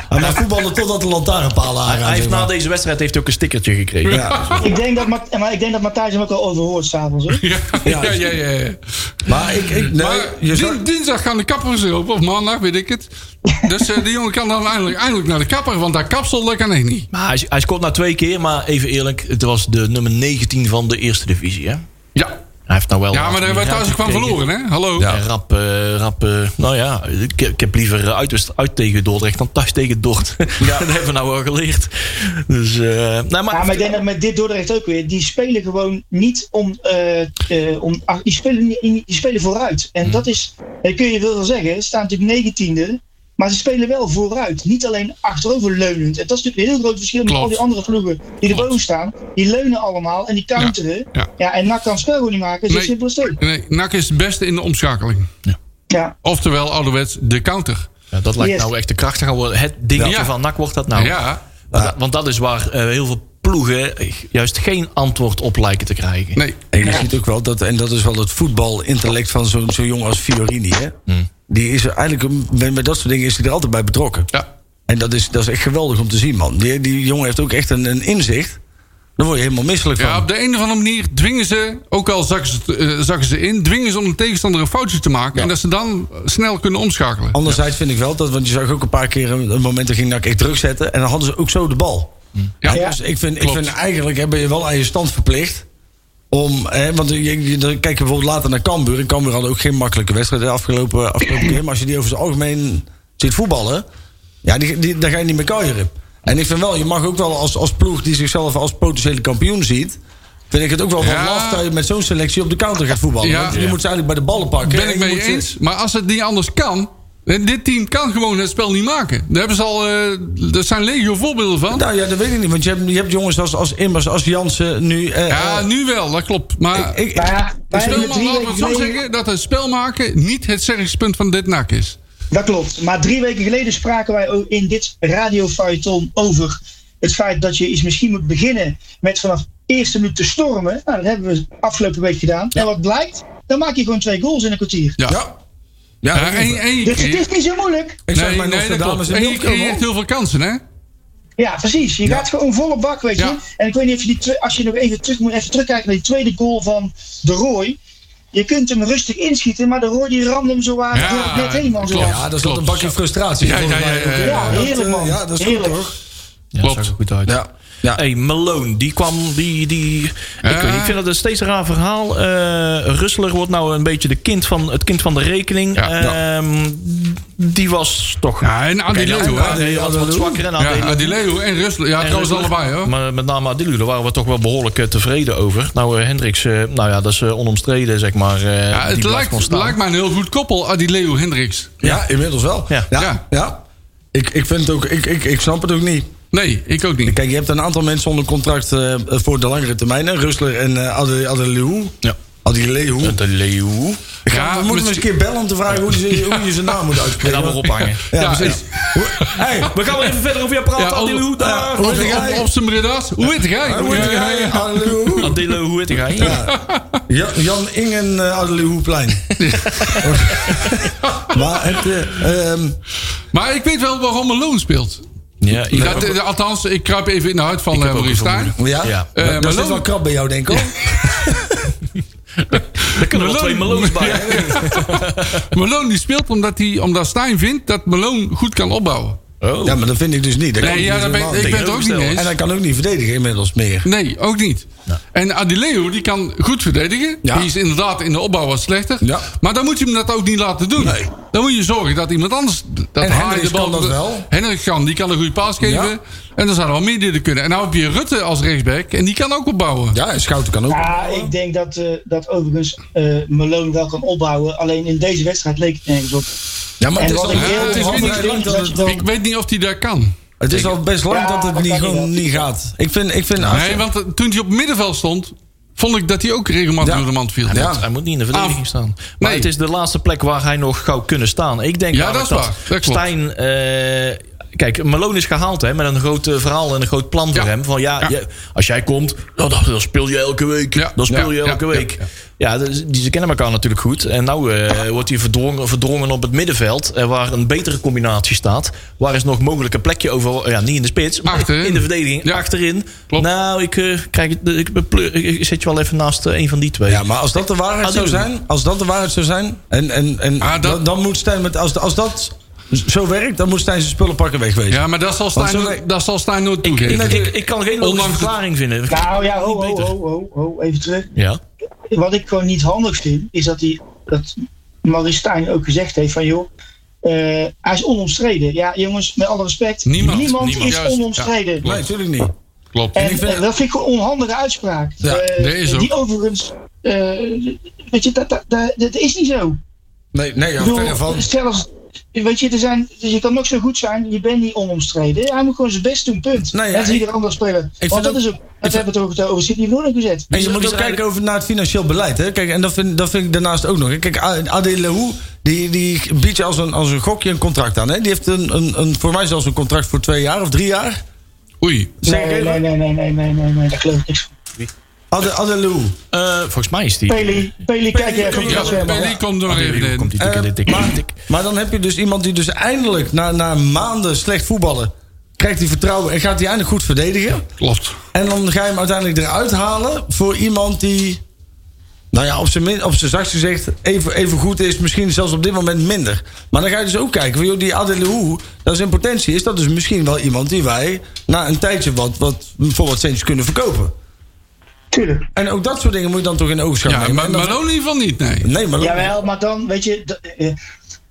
Hij mag voetballen totdat de lantaarnpalen aangaan.
Hij heeft
zeg maar.
na deze wedstrijd heeft ook een stickertje gekregen.
Ik denk dat, Mat- maar ik denk dat Matthijs hem ook al overhoort s'avonds. hoor.
Ja, ja, ja. ja, ja.
Maar ik... ik nee,
maar
je
din-
zou-
dinsdag gaan de kappers open, of maandag, weet ik het. Dus eh die jongen kan dan eindelijk, eindelijk naar de kapper, want dat kapsel, dat kan ik niet.
Maar hij, hij scoort na twee keer, maar even eerlijk, het was de nummer 19 van de eerste divisie. Hè?
Ja,
Hij heeft nou wel.
ja maar daar hebben we thuis ook van verloren, hè? Hallo.
Ja. Rap, eh, rap. eh, nou ja, ik, ik heb liever eh, uit, uit tegen Dordrecht dan thuis tegen Dort. dat hebben we nou wel geleerd. Dus, eh, nou, maar,
Ja, maar ik denk dat met dit Dordrecht ook weer. Die spelen gewoon niet om. eh, eh, om ah, die, spelen, niet- die spelen vooruit.
Hmm.
En dat is. Dat kun je wel zeggen. Ze staan natuurlijk 19e. Maar ze spelen wel vooruit. Niet alleen achteroverleunend. En dat is natuurlijk een heel groot verschil met
Klopt.
al die andere ploegen die
Klopt.
erboven staan. Die leunen allemaal en die counteren. Ja,
ja.
en NAC kan het spel gewoon niet maken. Zo
Nee.
simpel is het ook.
Nee, NAC is het beste in de omschakeling.
Ja.
Oftewel, ouderwets, de counter.
Ja, dat lijkt
Yes.
nou echt de kracht te gaan worden. Het dingetje
Ja.
van NAC wordt dat nou.
Ja,
Want dat- Want dat is waar eh, heel veel ploegen eh, juist geen antwoord op lijken te krijgen.
nee.
En je ziet ook wel dat, en dat is wel het voetbalintellect van zo'n zo jong als Fiorini. Hè?
Hmm.
Die is er eigenlijk, een- bij, bij dat soort dingen is hij er altijd bij betrokken.
Ja.
En dat is, dat is echt geweldig om te zien, man. Die, die jongen heeft ook echt een, een inzicht. Daar word je helemaal misselijk van.
ja, op de een of andere manier dwingen ze, ook al zakken ze, eh, zakken ze in, dwingen ze om een tegenstander een foutje te maken. En dat ze dan snel kunnen omschakelen.
Anderzijds vind ik wel dat, want je zag ook een paar keer een, een moment dat ging NAC echt druk zetten. En dan hadden ze ook zo de bal.
Ja,
Ja, dus ik vind, ik
Klopt.
vind eigenlijk hè, ben je wel aan je stand verplicht. Om, hè, want je, je, dan kijk je bijvoorbeeld later naar Cambuur. En Cambuur had ook geen makkelijke wedstrijd de afgelopen, afgelopen keer. Maar als je die over het algemeen ziet voetballen... Ja, die, die, daar ga je niet meer kuieren. En ik vind wel, je mag ook wel als, als ploeg die zichzelf als potentiële kampioen ziet. Vind ik het ook wel wat
Ja.
laf dat je met zo'n selectie op de counter gaat voetballen.
Ja.
Want je moet ze eigenlijk bij de ballen pakken.
Ben
En
ik
je
mee
moet ze-
eens. Maar als het niet anders kan. en Dit team kan gewoon het spel niet maken. Daar hebben ze al. eh er zijn legio voorbeelden van.
Nou ja, dat weet ik niet. Want je hebt, je hebt jongens als, als Immers, als Jansen nu. eh,
Ja,
eh,
nu wel, dat klopt. Maar
ik,
Nou ja, wij hebben
spelman, Dus laten
drie
we
weken
het zo
geleden-
zeggen dat het spel maken niet het sterkste van dit nak is.
Dat klopt. Maar drie weken geleden spraken wij ook in dit radiofeuilleton over het feit dat je eens misschien moet beginnen met vanaf eerste minuut te stormen. Nou, dat hebben we afgelopen week gedaan. En wat blijkt? Dan maak je gewoon twee goals in een kwartier.
Ja. ja.
ja,
en, en je
Dus het is
creëert,
niet zo moeilijk.
ik zeg
nee,
maar
nee, dat
Nostradamus
klopt.
en
En je
Wilco, hoor.
creëert heel veel kansen, hè?
Ja, precies. Je gaat gewoon volle bak, weet je.
Ja.
En ik weet niet of je die twe- als je nog even terug moet even terugkijken naar die tweede goal van de Roy. Je kunt hem rustig inschieten, maar de Roy die ramde hem zo waar
Ja,
door het net heen, man. zo.
klopt.
Ja, dat is wel
Klopt.
een bakje frustratie.
Ja, ja,
volgens mij.
ja, ja, ja.
Ja,
dat,
heerlijk,
eh,
man.
Ja, dat is goed
Heerlijk.
hoor.
Ja,
Klopt.
zag er goed uit.
Ja. ja.
Hey, Malone, die kwam, die... die ik,
Ja.
weet niet, ik vind dat een steeds een raar verhaal. Eh Rustler wordt nou een beetje de kind van, het kind van de rekening.
Ja.
Ehm, die was toch...
Ja, en Adileo,
ja,
hè?
die had wat zwakker en
Ja,
Adeleu.
Adileo en Rusland. Ja,
En
trouwens
Rutger.
allebei, hoor.
Maar met name Adilu, daar waren we toch wel behoorlijk eh, tevreden over. Nou, eh, Hendricks, eh, nou ja, dat is eh, onomstreden, zeg maar. eh, die
Ja, het
blijft
lijkt,
gewoon
het
staan.
lijkt mij een heel goed koppel, Adileo Hendricks.
Ja, inmiddels wel.
Ja.
Ja.
ja. ja. Ik, ik, vind het ook, ik, ik, ik snap het ook niet.
Nee, ik ook niet.
Kijk, je hebt een aantal mensen onder contract eh, voor de langere termijn. Hè? Rustler en eh Adel- Adeleu.
Ja.
Adeleu.
De leeuw.
Ik ga
Ja,
we moeten hem eens een
misschien-
keer bellen om te vragen hoe, die, hoe je zijn naam moet
En
uitspreken.
dan maar ophangen.
Ja,
Ja,
precies. Hoe- Hey,
We gaan wel even verder over jou praten,
Ja,
Adilu.
over-
Daar.
hoe
Op,
heet
op,
jij?
op zijn breda's. Hoe heet jij?
Hoe heet
Ja,
jij?
ja, ja.
Adeleu.
Adilu, hoe heet hij?
Ja, Jan Ingen uh, Adeleuhoeplein. maar het... eh, ehm,
Maar ik weet wel waarom Malone speelt.
Ja, ik-
Dat, eh, althans, ik kruip even in de huid van eh Maurice Stijn.
ja,
Ja.
dat-
Eh,
dat
maar
is
Loon-
wel krap bij jou, denk ik. hoor.
daar kunnen wel twee meloens bij. hè?
Malone die speelt omdat, hij, omdat Stijn vindt dat Malone goed kan opbouwen.
Oh.
Ja, maar dat vind ik dus niet. Dat kan
Nee, ja,
niet
daar ben,
helemaal
ik ben
niet.
het er ook niet mee
En hij
eens.
kan ook niet verdedigen inmiddels meer.
Nee, ook niet. En Adileo, die kan goed verdedigen.
Ja.
Die is inderdaad in de opbouw wat slechter.
Ja.
Maar dan moet je hem dat ook niet laten doen.
Nee.
Dan moet je zorgen dat iemand anders... Dat
En
hij
Hendricks kan dat wel.
Hendricks kan, die kan een goede paas geven.
Ja.
En dan zijn er wel meer die er kunnen. En nou heb je Rutte als rechtsback. En die kan ook opbouwen.
Ja, en Schouten kan ook.
Ja, ik denk dat, eh, dat overigens eh Malone wel kan opbouwen. Alleen in deze wedstrijd leek het nergens op.
Ja, maar het
En
is
wat
al
Ja,
ik heel
het is
heel
terecht
weer niet-
lang
vind,
dat
dat
het...
je dan-
Ik weet niet of die daar kan.
Het is al best lang
Ja,
dat het
dat
niet,
kan
gewoon
niet.
niet gaat. Ik vind, ik vind
Nee, want eh, toen hij op het middenveld stond... vond ik dat hij ook regelmatig
Ja.
door de mand viel.
Ja.
Hij moet niet in de verdediging
Af.
staan. Maar
Nee.
het is de laatste plek waar hij nog zou kunnen staan. Ik denk
Ja,
namelijk
dat is waar. Dat klopt.
Stijn... eh, kijk, Malone is gehaald hè, met een groot eh, verhaal en een groot plan voor
Ja.
hem. Van ja,
Ja.
je- als jij komt, nou, dan, dan speel je elke week.
Ja.
Dan speel
Ja.
je elke
Ja.
week. Ja, dus die, ze kennen elkaar natuurlijk goed. En nou eh, wordt hij verdrongen, verdrongen op het middenveld. eh, waar een betere combinatie staat. Waar is nog mogelijk een plekje over... Ja, niet in de spits, maar
Achterin.
in de verdediging.
Ja.
Achterin.
Klopt.
Nou, ik, eh, krijg, het- ik, bepleur- ik- ik zet je wel even naast eh, een van die twee.
Ja, maar als dat de waarheid zou
Adieu.
zijn, als dat de waarheid zou zijn, en, en, en
Ah, dat-
dan, dan moet Stijn met, als, als dat zo werkt, dan moet Stijn zijn spullen pakken wegwezen.
Ja, maar dat zal Stijn,
Want zo-
nooit- dat zal Stijn nooit
Ik,
toegeven.
ik, ik kan geen logische
Ondanks het-
verklaring vinden.
Nou ja, ho, ho,
beter.
ho, ho, ho, even terug.
Ja.
Wat ik gewoon niet handig vind, is dat, die, dat Maurice Stijn ook gezegd heeft van joh, eh, hij is onomstreden. Ja jongens, met alle respect,
Niemand,
niemand,
niemand,
is
juist.
onomstreden.
Ja,
nee, natuurlijk niet.
Klopt.
En
Ik vind-
eh, dat vind ik een onhandige uitspraak.
Ja,
Eh,
dat is ook.
Die overigens, eh, weet je, dat, dat, dat, dat is niet zo.
Nee, nee ja,
Ik bedoel,
verre van.
zelfs, weet je, er zijn, je kan ook zo goed zijn, je bent niet onomstreden. Hij moet gewoon zijn best doen, punt.
Nee, ja,
Net als
ik-
ieder ander speler.
vind
Want dat
ook-
is ook, dat hebben we toch over Sydney Rooney gezet.
En je moet ook kijken over naar het financieel beleid. Hè? Kijk, en dat vind, dat vind ik daarnaast ook nog. hè. Kijk, Adeleu, die, die biedt je als een, als een gokje een contract aan. Hè? Die heeft een, een, een, voor mij zelfs een contract voor twee jaar of drie jaar.
Oei.
Zeg ik
Nee, nee,
even.
nee, nee, nee, nee, nee, nee, daar geloof ik niks van.
Ade- Adeleu.
Eh, volgens mij is die.
Peli, Peli, kijk je even
kom
op
je
dat
wel
Ja,
zwemmen.
Bailey komt er nog
Hier
even
komt
in.
die tikken,
Eh,
dit, tikken, dit, tikken.
Maar dan heb je dus iemand die dus eindelijk na, na maanden slecht voetballen. krijgt hij vertrouwen en gaat hij eindelijk goed verdedigen.
Klopt.
En dan ga je hem uiteindelijk eruit halen voor iemand die. Nou ja, op zijn, min- op zijn zachtst gezegd even, even goed is. Misschien zelfs op dit moment minder. Maar dan ga je dus ook kijken. Van, joh, die Adelou, dat is in potentie. Is dat dus misschien wel iemand die wij na een tijdje wat, wat, voor wat centjes kunnen verkopen.
Tuurlijk.
En ook dat soort dingen moet je dan toch in oogschouw
Ja,
nemen.
maar
En dat-
Malone in ieder geval niet, nee.
Nee, maar...
Jawel, maar dan, weet je, d- eh,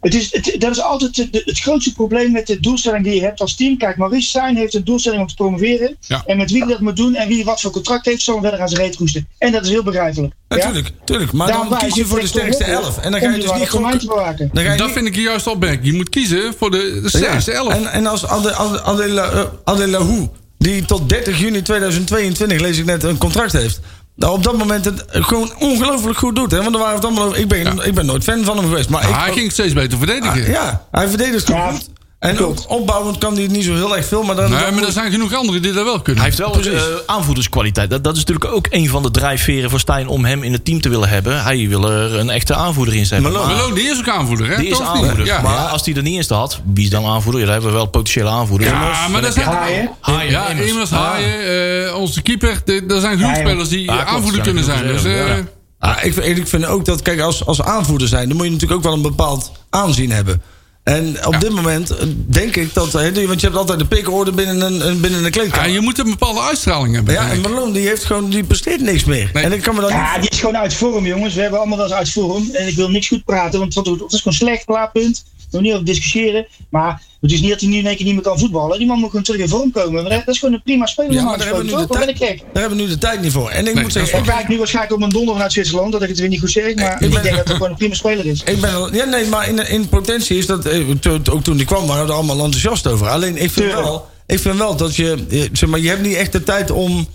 Het is, het, dat is altijd het, het grootste probleem met de doelstelling die je hebt als team. Kijk, Maurice Stijn heeft een doelstelling om te promoveren.
Ja.
En met wie die dat moet doen en wie wat voor contract heeft, zullen we verder aan zijn reet roesten. En dat is heel begrijpelijk.
Natuurlijk, tuurlijk. Maar
Daarom
dan
wij
kies je
dit
voor de
echt
sterkste
onmogelijk
elf. En dan ga
om
je
die
dus niet
waarde voor mij te
gewoon...
bewaken.
Dan ga je
Dat
niet-
vind ik hier juist opmerking. Je moet kiezen voor de de
Ja,
sterkste elf.
En, en als Ade- Ade- Adela- eh, Adelahou, die tot 30 juni 2022, lees ik net, een contract heeft. Nou, op dat moment het gewoon ongelooflijk goed doet. Hè? Want er waren het allemaal over. Ik ben, ik ben nooit fan van hem geweest. Maar
Ah,
ik, Ah,
hij ging steeds beter verdedigen.
Ja, hij verdedigt gewoon
Ja,
goed. En ook opbouwend kan hij het niet zo heel erg veel. Maar dan,
Nee, maar er zijn genoeg anderen die dat wel kunnen.
Hij heeft wel
Precies.
eh, aanvoerderskwaliteit. Dat, dat is natuurlijk ook een van de drijfveren voor Stijn om hem in het team te willen hebben. Hij wil er een echte aanvoerder in zetten.
Malone.
Maar
Malone, die is ook aanvoerder, hè?
die is
Toch niet?
aanvoerder.
Ja,
Maar als die er niet in staat, wie is dan aanvoerder? Ja, daar hebben we wel potentiële aanvoerders.
ja maar dat zijn...
Haaien.
Haaien,
ja,
Immers.
Immers, Haaien, eh, onze keeper. De- Er zijn genoeg
Haaien.
spelers die
Ah, klopt, zijn
aanvoerder kunnen
genoeg
zijn. Dus,
reserve,
eh,
ja.
Ah, ik, vind- ik vind ook dat, kijk, als, als aanvoerder zijn, dan moet je natuurlijk ook wel een bepaald aanzien hebben. En op dit moment eh, denk ik dat, hè, want je hebt altijd de pikorde binnen een, een- binnen een
ja,
kleedkamer.
je moet een bepaalde uitstraling hebben.
Ja, en
denk ik.
Malone die heeft gewoon, die presteert niks meer.
Nee.
En ik kan me dan niet...
Ja, die is gewoon uit vorm, jongens. We hebben allemaal wel eens uit vorm. En ik wil niks goed praten, want het is gewoon slecht klaarpunt. We moeten niet over discussiëren. Maar het is niet dat hij nu in één keer niet meer kan voetballen. Die man moet gewoon terug in vorm komen. Maar dat dat is gewoon een prima speler.
Ja,
normaal
maar daar hebben,
gesproken,
we nu de
toch? Waar ben ik
tijd,
gek?
daar hebben we nu de tijd niet voor. En
Nee,
ik moet
dat is
zeggen,
Ik
ik,
kijk nu waarschijnlijk op mijn donder vanuit Zwitserland, dat ik het weer niet goed zeg. Maar
ik
ik,
ben-
denk dat het gewoon een prima speler is.
ik ben al- Ja, nee, maar in, in potentie is dat... eh, to- to- Ook toen die kwam waren we er allemaal enthousiast over. Alleen ik vind
Tuurlijk.
wel, ik vind wel dat je... eh, Zeg maar, je hebt niet echt de tijd om,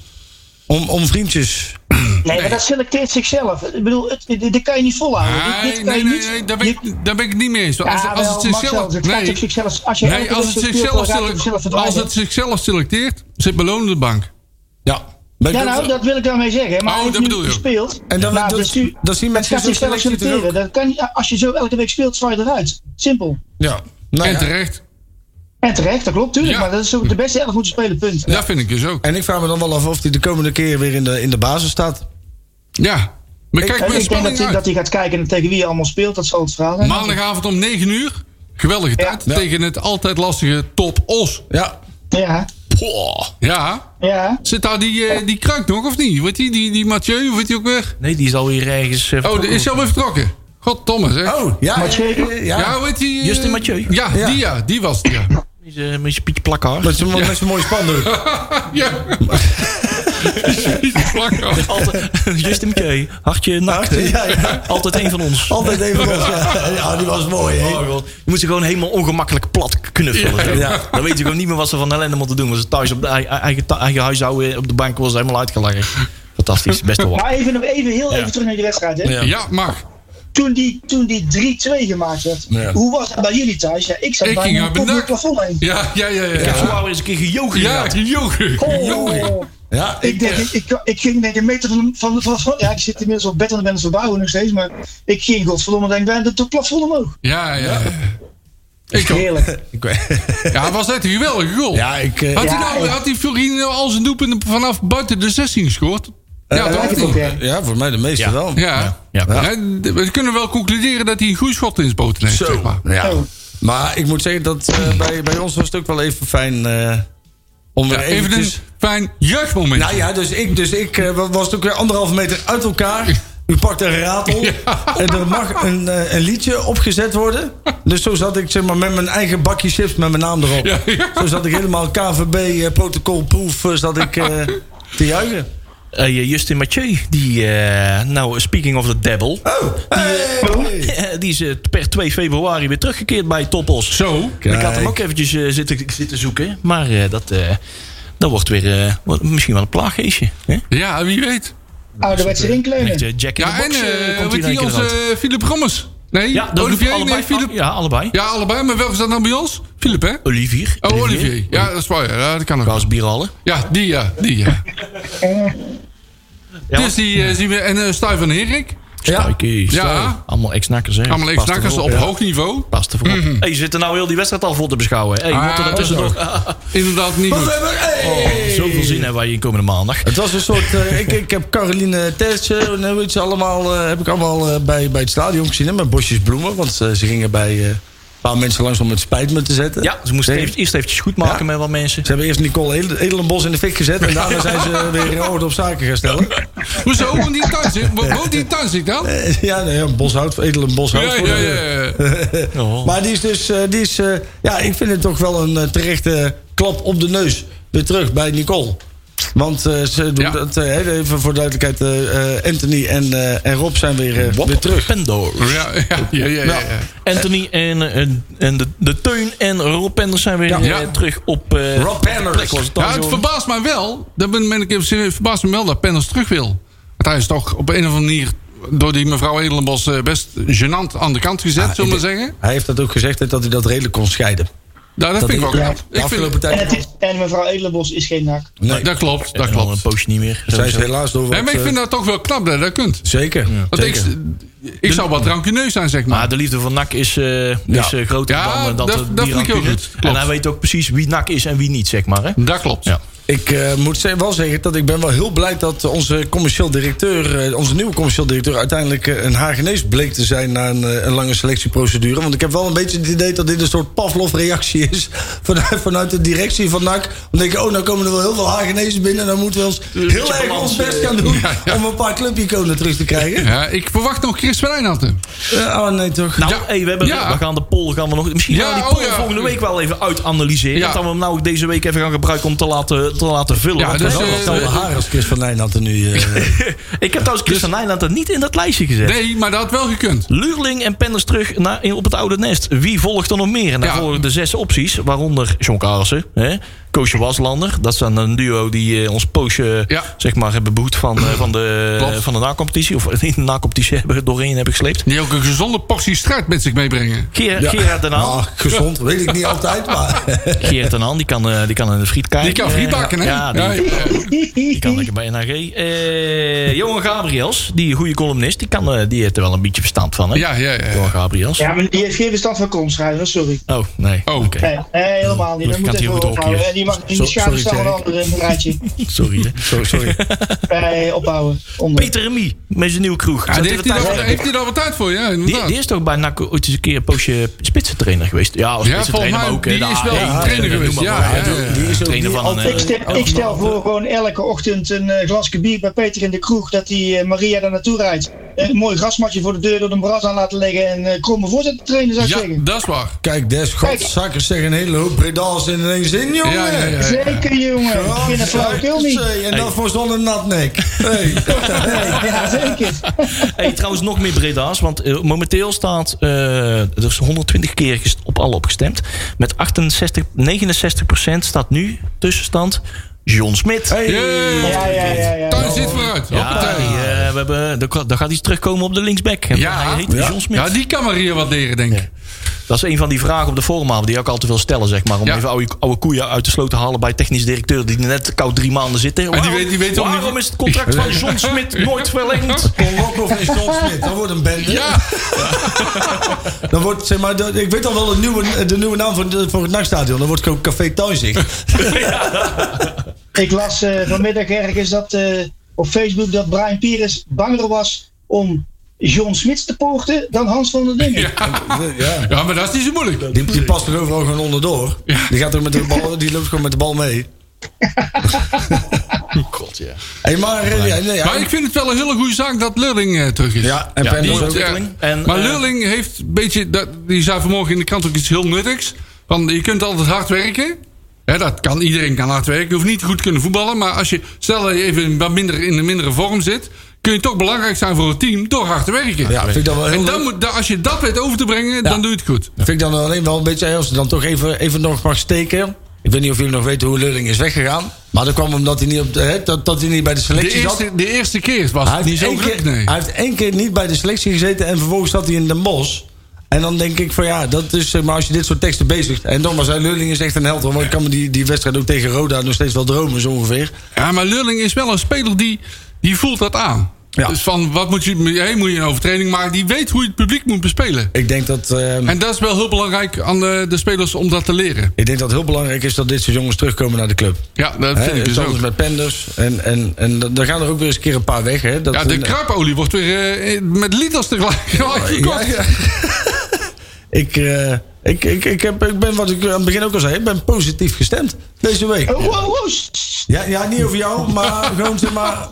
om, om vriendjes...
Nee, maar dat selecteert zichzelf. Ik bedoel, het, dit, dit kan je niet volhouden. Dit-
Nee,
dit kan
nee,
je
nee,
niet.
nee, daar ben
Je-
ik, daar ben ik het niet mee eens. Als,
Ja,
als het
wel, Marcel,
zichzelf...
het gaat op
Nee,
zichzelf- Als je
nee
elke
als,
dag
het
speelt,
zichzelf,
dan gaat het
selec-
zichzelf
als
verdwijnen.
het zichzelf selecteert, zit Malone op de bank.
Ja. Ben ik
Ja,
ook
nou,
zo-
dat wil ik daarmee zeggen. Maar
Oh,
hij
dat
heeft
bedoel
nu
je.
gespeeld.
En dan-
Nou,
dat-
dus nu-
dat zien
dat
mensen
gaat
zo
zichzelf
selectief er ook.
selecteren. Dat kan, niet- als je zo elke week speelt, zwaai je eruit. Simpel.
ja. Nou
En
ja.
terecht.
En terecht, dat klopt, tuurlijk.
Ja.
Maar dat is ook de beste elf moeten spelen, punt.
Dat vind ik dus ook.
En ik vraag me dan wel af of hij de komende keer weer in de, in de basis staat.
Ja. Maar kijk, mijn
En ik denk dat
spanning
hij, dat
uit.
hij gaat kijken tegen wie hij allemaal speelt. Dat zal het verhaal zijn.
Maandagavond om 9 uur. Geweldige
Ja.
tijd. Tegen het altijd lastige Top Os.
Ja.
Ja,
Poh. Ja.
ja.
Zit daar die, eh, die kruik nog of niet? Weet die, die, die Mathieu, hoe heet die ook weer?
Nee, die is alweer ergens... eh,
Oh, die is alweer vertrokken. God, Thomas, hè?
Oh, ja.
Maar zeker?
eh,
ja,
Ja.
hoe heet die? eh,
Justin Mathieu.
Ja,
Ja.
die ja. Die was het, ja.
Met zijn- Met zijn pietje plakhaar.
Met zo'n met zo'n mooie spandoek.
ja. Die is vlak af.
Altijd- Justin McKay, hartje naakt. hè?
Ja, ja.
Altijd een van ons.
Altijd even los. Ja, Eh, Ja, die was mooi, hè?
Oh god. Je moet ze gewoon helemaal ongemakkelijk plat knuffelen.
Ja. Ja.
Dan weet je gewoon niet meer wat ze van ellende moeten doen. Want ze thuis op de ei- eigen, ta- eigen huishouden op de bank was helemaal uitgelachen. Fantastisch, best wel wat.
Maar even, nog even heel
Ja.
even terug naar die wedstrijd. Hè.
Ja, mag.
Toen die, toen die 3-2 gemaakt werd,
Ja.
hoe was dat bij jullie thuis? Ja, ik zat
Ik
bij
ging
mijn
uit mijn
kop door het
dak.
plafond heen.
Ja, ja, ja, ja.
Zo
Ja,
waren we eens een keer gejogen.
ja,
Ja.
joker.
Oh.
Ja,
Ik, denk, ik, ik, ik ging denk ik een meter van, van, van, van- Ja, ik zit inmiddels op bed en ben aan het verbouwen nog steeds. Maar ik ging godverdomme denk ik bijna door het plafond omhoog.
Ja, ja. Ik ook.
Heerlijk.
Ik weet-
Ja, was net een geweldige goal.
ja, ik... eh,
Had,
Ja,
hij nou,
ik-
had hij Fiorino al zijn doelpunten vanaf buiten de 16 gescoord? Ja,
eh,
toch?
lijkt het ook, ja.
Ja, voor mij de meeste
Ja.
wel.
Ja.
Ja. Ja.
Hè, d- We kunnen wel concluderen dat hij een goede schot in zijn poten heeft. Zeg maar.
Ja.
Oh.
Maar ik moet zeggen dat eh, bij, bij ons was het ook wel even fijn eh, om weer
Ja, even een
eventjes...
fijn jeugdmoment.
Nou ja, dus ik, dus ik eh, was het ook weer anderhalve meter uit elkaar. U pakt een ratel. En er mag een, eh, een liedje opgezet worden. Dus zo zat ik zeg maar, met mijn eigen bakje chips met mijn naam erop.
Ja, ja.
Zo zat ik helemaal KVB-protocolproef zat ik eh, te juichen.
Eh, Justin Mathieu, die, eh, nou, speaking of the devil.
Oh,
Eh, die is eh, per 2 februari weer teruggekeerd bij Topos.
Zo.
Ik had hem ook eventjes eh, zitten, zitten zoeken. Maar eh, dat, eh, dat wordt weer eh, wat- misschien wel een plaaggeestje. Hè?
Ja, wie weet.
Ouderwetse
Echt,
rinkleunen.
eh, Jack in
Ja,
the
en
box eh,
eh
komt
weet
hier in
die
één keer uit.
onze Philip Rommers? Nee,
Ja, dat
Olivier,
doet allebei.
nee, Philip.
Ah, ja, allebei.
Ja, allebei. Maar welke staat nou bij ons? Philip, hè?
Olivier.
Oh, Olivier. Ja, dat is waar. Ja, dat kan ook.
Klaus Bierhalle.
Ja, die ja. Die, ja.
Ja.
Dus die eh, zien we. En eh Stuy van Herik.
Ja.
Ja.
Allemaal ex-nakkers, hè?
Allemaal
Past
ex-nakkers
ervoor,
op
ja.
hoog niveau.
Past ervoor op. Hey, je zit er nou heel die wedstrijd al voor te beschouwen. Hey, je
Ah,
moet er
dat
tussendoor.
Inderdaad niet goed. Oh.
Zoveel zin hebben wij in komende maandag.
Het was een soort. eh, ik, ik heb Caroline Tertje en hoe heet ze allemaal. eh, heb ik allemaal eh, bij, bij het stadion gezien. Hè, met bosjes bloemen. Want eh, ze gingen bij. eh, paar mensen langs om het spijt me te zetten.
Ja, ze moesten
Nee.
even- eerst eventjes goed maken
Ja.
met wat mensen.
Ze hebben eerst Nicole Edel- Edelenbos in de fik gezet. En daarna zijn ze weer in orde op zaken gaan stellen.
Hoezo? Woont die in Tuinzicht? Wo- Woont die in Tuinzicht dan?
Eh, Ja, nee, ja, Boshout, Edelenbos.
Ja, ja, ja. ja.
Oh.
Maar die is dus, eh, die is, eh, ja, ik vind het toch wel een eh, terechte klap op de neus. Weer terug bij Nicole. Want eh, ze doen
Ja.
dat, eh, heel even voor duidelijkheid, eh, eh, Anthony en, eh, en Rob zijn weer, eh, weer terug.
Pendo.
Ja, ja, ja, ja, ja.
Nou, Anthony en, eh, en, en de, de Teun en Rob Penders zijn weer
Ja.
eh, terug op eh
Rob Penders.
plek was het dan
Ja, het
zo.
verbaast mij wel. Dat ben, ben ik even serieus, verbaast me wel dat Penners terug wil. Want hij is toch op een of andere manier door die mevrouw Edelenbos eh, best gênant aan de kant gezet,
Ah,
zullen we maar zeggen.
Hij heeft dat ook gezegd hè, dat hij dat redelijk kon scheiden.
Ja, Nou, dat, vind ik wel
ja,
knap.
De
Ik vind,
afgelopen
En,
tijd.
het is- en mevrouw Edelenbos is geen nak.
Nee,
dat klopt, dat
En al een
klopt.
poosje niet meer.
zij is
Sowieso.
helaas door.
Nee,
wat,
maar ik
eh,
vind dat toch wel knap dat je dat kunt.
Zeker.
Want ik,
Zeker.
ik zou wat rancuneus zijn, zeg maar.
Maar de liefde van NAC is, eh, is eh, groter
Ja,
dan, dan
dat-
de- die
dat vind ik heel
rancune.
goed.
En
Klopt.
hij weet ook precies wie NAC is en wie niet, zeg maar. Hè?
Dat klopt.
Ja.
Ik eh, moet ze- wel zeggen dat ik ben wel heel blij dat onze commercieel directeur, eh, onze nieuwe commercieel directeur, uiteindelijk eh, een Hagenees bleek te zijn na een, eh, een lange selectieprocedure. Want ik heb wel een beetje het idee dat dit een soort Pavlov-reactie is vanuit, vanuit de directie van NAC. Dan denk je, oh, nou komen er wel heel veel Hagenezen binnen. Dan moeten we ons heel erg ons best gaan doen om een paar clubiconen terug te krijgen.
Ja, ik verwacht nog Chris van Eijnatten.
Eh, oh nee, toch?
Nou,
Ja.
hey, we, hebben,
Ja.
we gaan de poll gaan we nog. Misschien
Ja,
gaan we die
oh
poll
ja.
volgende week wel even uitanalyseren.
Ja.
Dat we hem nou ook deze week even gaan gebruiken om te laten, te laten vullen.
Ja,
Want
dus,
we hebben
eh, dus-
wel
Nou, de
wat-
haar als Chris van Nijn had er nu. eh,
ik heb trouwens Chris van Nijland er niet in dat lijstje gezet.
Nee, maar dat had wel gekund.
Luurling en Penders terug naar, in- op het oude nest. Wie volgt er nog meer? En daar
Ja.
volgen de zes opties, waaronder John Carlsen, hè, Koosje Waslander. Dat is dan een duo die eh, ons poosje
Ja.
zeg maar, hebben behoed van, eh, van de,
Klopt.
van de na-competitie. Of in de na-competitie hebben, doorheen heb ik gesleept.
Die ook een gezonde portie strijd met zich meebrengen.
Ger,
ja.
Gerard Den Haan.
Ah, gezond, weet ik niet altijd, maar.
Gerard Den Haan, die kan, eh, die kan in de frietkijken.
Die kan friet bakken, hè?
Ja, die,
Ja, ja.
die kan lekker bij NAG. Eh, Johan Gabriels, die goede columnist, die, kan, eh, die heeft er wel een beetje verstand van, hè?
Ja, ja, ja.
Johan Gabriels.
Ja, maar die heeft geen bestand van komschrijven, sorry.
Oh, nee.
Oh.
Oké.
Nee, nee, helemaal niet. Dat
Lucht kan
moet even
het heel goed
ophouden.
hockey.
En die mag in
Zo-
de schaduw
sorry,
staan van
Tjerk.
anderen in een rijtje.
Sorry, hè.
Sorry, sorry.
Eh, ophouden. Onder.
Peter Remy met zijn nieuwe kroeg.
Ja,
Zat
die
hij
heeft
er
hij
thuis?
daar- heeft hij daar wat tijd voor, ja,
die,
inderdaad.
die is toch bij NAC ooit eens een keer een poosje spitsentrainer geweest? Ja, of
Ja,
spitsentrainer,
volgens mij,
maar ook... eh, de
die is wel
AE,
een trainer
noem maar
geweest,
op,
ja,
hè.
ja, ja.
Die is ook trainer van eh, een...
Ik stel, ik stel voor gewoon elke ochtend een eh, glasje bier bij Peter in de kroeg. Dat die eh, Maria daar naartoe rijdt. Eh, Een mooi grasmatje voor de deur door de bras aan laten leggen. En eh, kromme voorzet te trainen zou ik
Ja,
zeggen.
dat is waar.
Kijk, des godzakkers zeggen een hele hoop breda's in één zin, jongen.
Ja, ja, ja.
Zeker jongen.
Ja,
Ik vind het flauwekul niet.
En dat voor zo'n natnek. Hey.
Ja, zeker.
Hey, trouwens, nog meer Breda's. Want eh, momenteel staat... eh, er is 120 keer gest- op alle opgestemd. Met 68, 69 procent staat nu tussenstand John Smit.
Jee.
Ja, ja, ja. ja.
Tuin zit vooruit.
Ja, die,
Hoppatee.
eh, we hebben, daar kan- daar gaat iets terugkomen op de linksback. En
Ja.
Hij heet John Smit.
Ja, die kan maar hier wat leren, denk ik.
Dat is een van die vragen op de forum die ik ook altijd wil stellen, zeg maar. Om
Ja.
even oude, oude koeien uit de sloot te halen bij technisch directeur die net koud drie maanden zitten. Waarom,
weet- die weet ook niet- Oh,
waarom is het contract van John Smit nooit verlengd?
Lokhoff en John Smit, dat wordt een bende.
Ja,
Dan wordt, zeg maar, dat- ik weet al wel de nieuwe, de nieuwe naam voor, de- voor het nachtstadion. Dan wordt het ook Café Tuinzicht.
Ik las eh, vanmiddag ergens dat eh, op Facebook dat Brian Pires banger was om John Smits te poorten dan Hans van der Dingen.
Ja.
ja maar dat is niet zo moeilijk.
Die, die past er overal gewoon onderdoor. Die, gaat ook met de bal, die loopt gewoon met de bal mee.
God, ja.
Hey, maar, eh, ja, nee, ja.
Maar ik vind het wel een hele goede zaak dat Lurling eh, terug is.
ja, en
Ja,
Penders
die
ook.
ontwikkeling. En,
maar
eh,
Lurling heeft een beetje... Dat, die zei vanmorgen in de krant ook iets heel nuttigs. Van, je kunt altijd hard werken. Hè, dat kan, iedereen kan hard werken. Je hoeft niet goed kunnen voetballen. Maar als je, stel dat je even wat minder, in een mindere vorm zit... kun je toch belangrijk zijn voor het team door hard te werken.
Ja, vind ik dat wel heel
en dan
leuk.
moet, dan- als je dat weet over te brengen, dan doe je het goed.
Vind ik dan alleen wel een beetje, als ze dan toch even, even nog mag steken. Ik weet niet of jullie nog weten hoe Lulling is weggegaan. Maar dat kwam omdat hij niet, op de, hè, dat, dat hij niet bij de
De
selectie zat.
eerste, de eerste keer was
Hij
het niet
heeft,
zo
één
druk,
keer,
nee.
hij heeft één keer niet bij de selectie gezeten en vervolgens zat hij in Den Bosch. En dan denk ik van ja, dat is zeg maar als je dit soort teksten bezigt. En dan was hij Lulling is echt een held. hoor, Want ik kan me die, die wedstrijd ook tegen Roda nog steeds wel dromen, zo ongeveer.
Ja, maar Lulling is wel een speler die, die voelt dat aan.
Ja.
Dus van, wat moet je, hé, moet je een overtreding maken? Die weet hoe je het publiek moet bespelen.
Ik denk dat, eh,
En dat is wel heel belangrijk aan de, de spelers om dat te leren.
ik denk dat het heel belangrijk is dat dit soort jongens terugkomen naar de club.
Ja, dat
Hè,
vind ik dus
zoals
ook.
met Penders. En, en, en dan dan gaan er ook weer eens een keer een paar weg. Hè? Dat,
Ja, de kraapolie wordt weer eh, met liters tegelijk gelijk
Oh, Ja,
gekocht.
ja. ik, eh, Ik, ik, ik, heb, ik ben, wat ik aan het begin ook al zei, ik ben positief gestemd deze week.
Oh, wow, wow.
Ja, ja niet over jou, maar gewoon zeg maar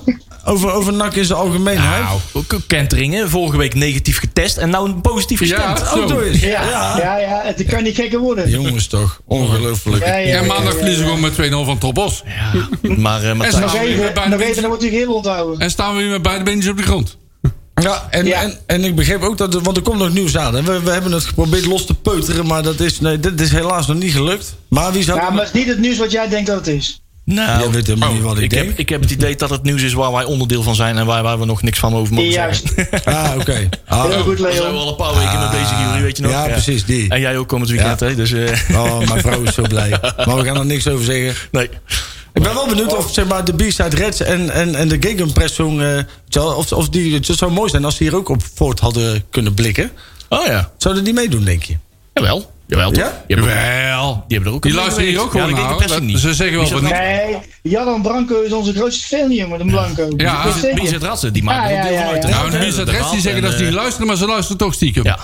over, over NAC in zijn algemeenheid.
Nou, ook Kenteringen, vorige week negatief getest en nou een positief
Ja.
gestemd. Oh,
Ook door is.
Ja, ja. ja, het kan niet gekker worden.
Jongens toch, ongelooflijk.
Ja, ja,
En maandag
ja, ja.
verliezen we gewoon met 2-0 van Topos.
Maar eh, Matthijs-
En
Nog
staan we weer met beide
even, nog even,
beentjes-
dan wordt u geheel onthouden.
En staan we weer met beide beentjes op de grond.
Ja, en,
Ja.
En, en ik begreep ook dat, er- want er komt nog nieuws aan. hè. We, we hebben het geprobeerd los te peuteren, maar dat is, nee, dit is helaas nog niet gelukt. Maar wie zou...
Ja, maar het is niet het nieuws wat jij denkt dat het is.
nou,
Jij weet helemaal
oh,
niet wat ik
ik,
denk.
heb, ik heb het idee dat het nieuws is waar wij onderdeel van zijn en waar, waar we nog niks van over mogen
Juist.
zeggen.
Ah, oké. Ah,
Heel goed,
Daar zijn we
Leon.
al een paar weken mee bezig, jullie, weet je nog?
Ja, precies, die.
En jij ook komend weekend,
Ja.
hè? Dus, eh,
Oh, mijn vrouw is zo blij. Maar we gaan er niks over zeggen.
nee.
Ik ben wel benieuwd of zeg maar, de B-side Reds en, en, en de Gegenpressung... eh, tja, of, of die, het zou mooi zijn als ze hier ook op voort hadden kunnen blikken.
Oh ja,
Zouden die meedoen, denk je?
jawel. Jawel, toch?
Ja?
Die hebben ook-
Wel.
die hebben er ook
Die
een
luisteren hier
meegewerkt.
ook gewoon
ja,
naar,
dat weet ik
hoor.
niet.
Ze zeggen wel
Wie zit
wat
er-
Nee, Jan Branco is onze grootste fan, jongen, de Blanco.
Ja,
Dat
Wie zit-
zeker.
Wie zit rassen? Die maken
Ja,
er ook
ja,
deel
ja,
van uit.
ja.
Nou,
hè,
de Bizet
de
Reds die
Raad
zeggen
en,
dat ze niet
eh,
luisteren, maar ze luisteren toch stiekem.
Ja.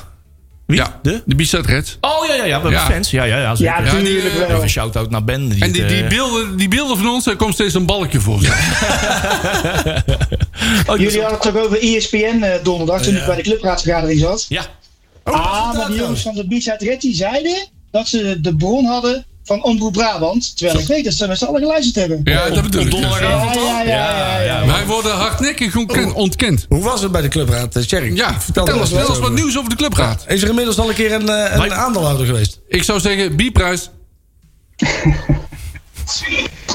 Wie?
Ja,
De?
de Bizet Reds.
Oh ja, ja, ja, we hebben
Ja.
fans. Ja, ja, ja. zeker.
Ja,
Ja, die,
natuurlijk
eh,
wel.
Even shout-out naar Ben. Die
En die,
het,
die,
eh,
beelden, die beelden van ons, daar komt steeds een balkje voor.
oh, die
Jullie
was-
hadden het ook over ESPN eh, donderdag, toen ik bij de clubraadsvergadering zat.
Ja.
dat
ah,
is dat
maar die
dan.
jongens van de Beach uit Red, die zeiden dat ze de bron hadden van Omroep Brabant. Terwijl ik weet dat ze met z'n allen geluisterd hebben.
Ja, dat bedoel ik. dus.
Ja, ja, ja, ja, ja.
Wij worden hardnekkig onken- ontkend.
Hoe was het bij de clubraad, eh, Sherry?
Ja, vertel,
er
ons,
eens
vertel ons wat
over.
nieuws over de clubraad.
Is er inmiddels al een keer een, eh, een
Wij-
aandeelhouder geweest?
Ik zou zeggen, B-prijs.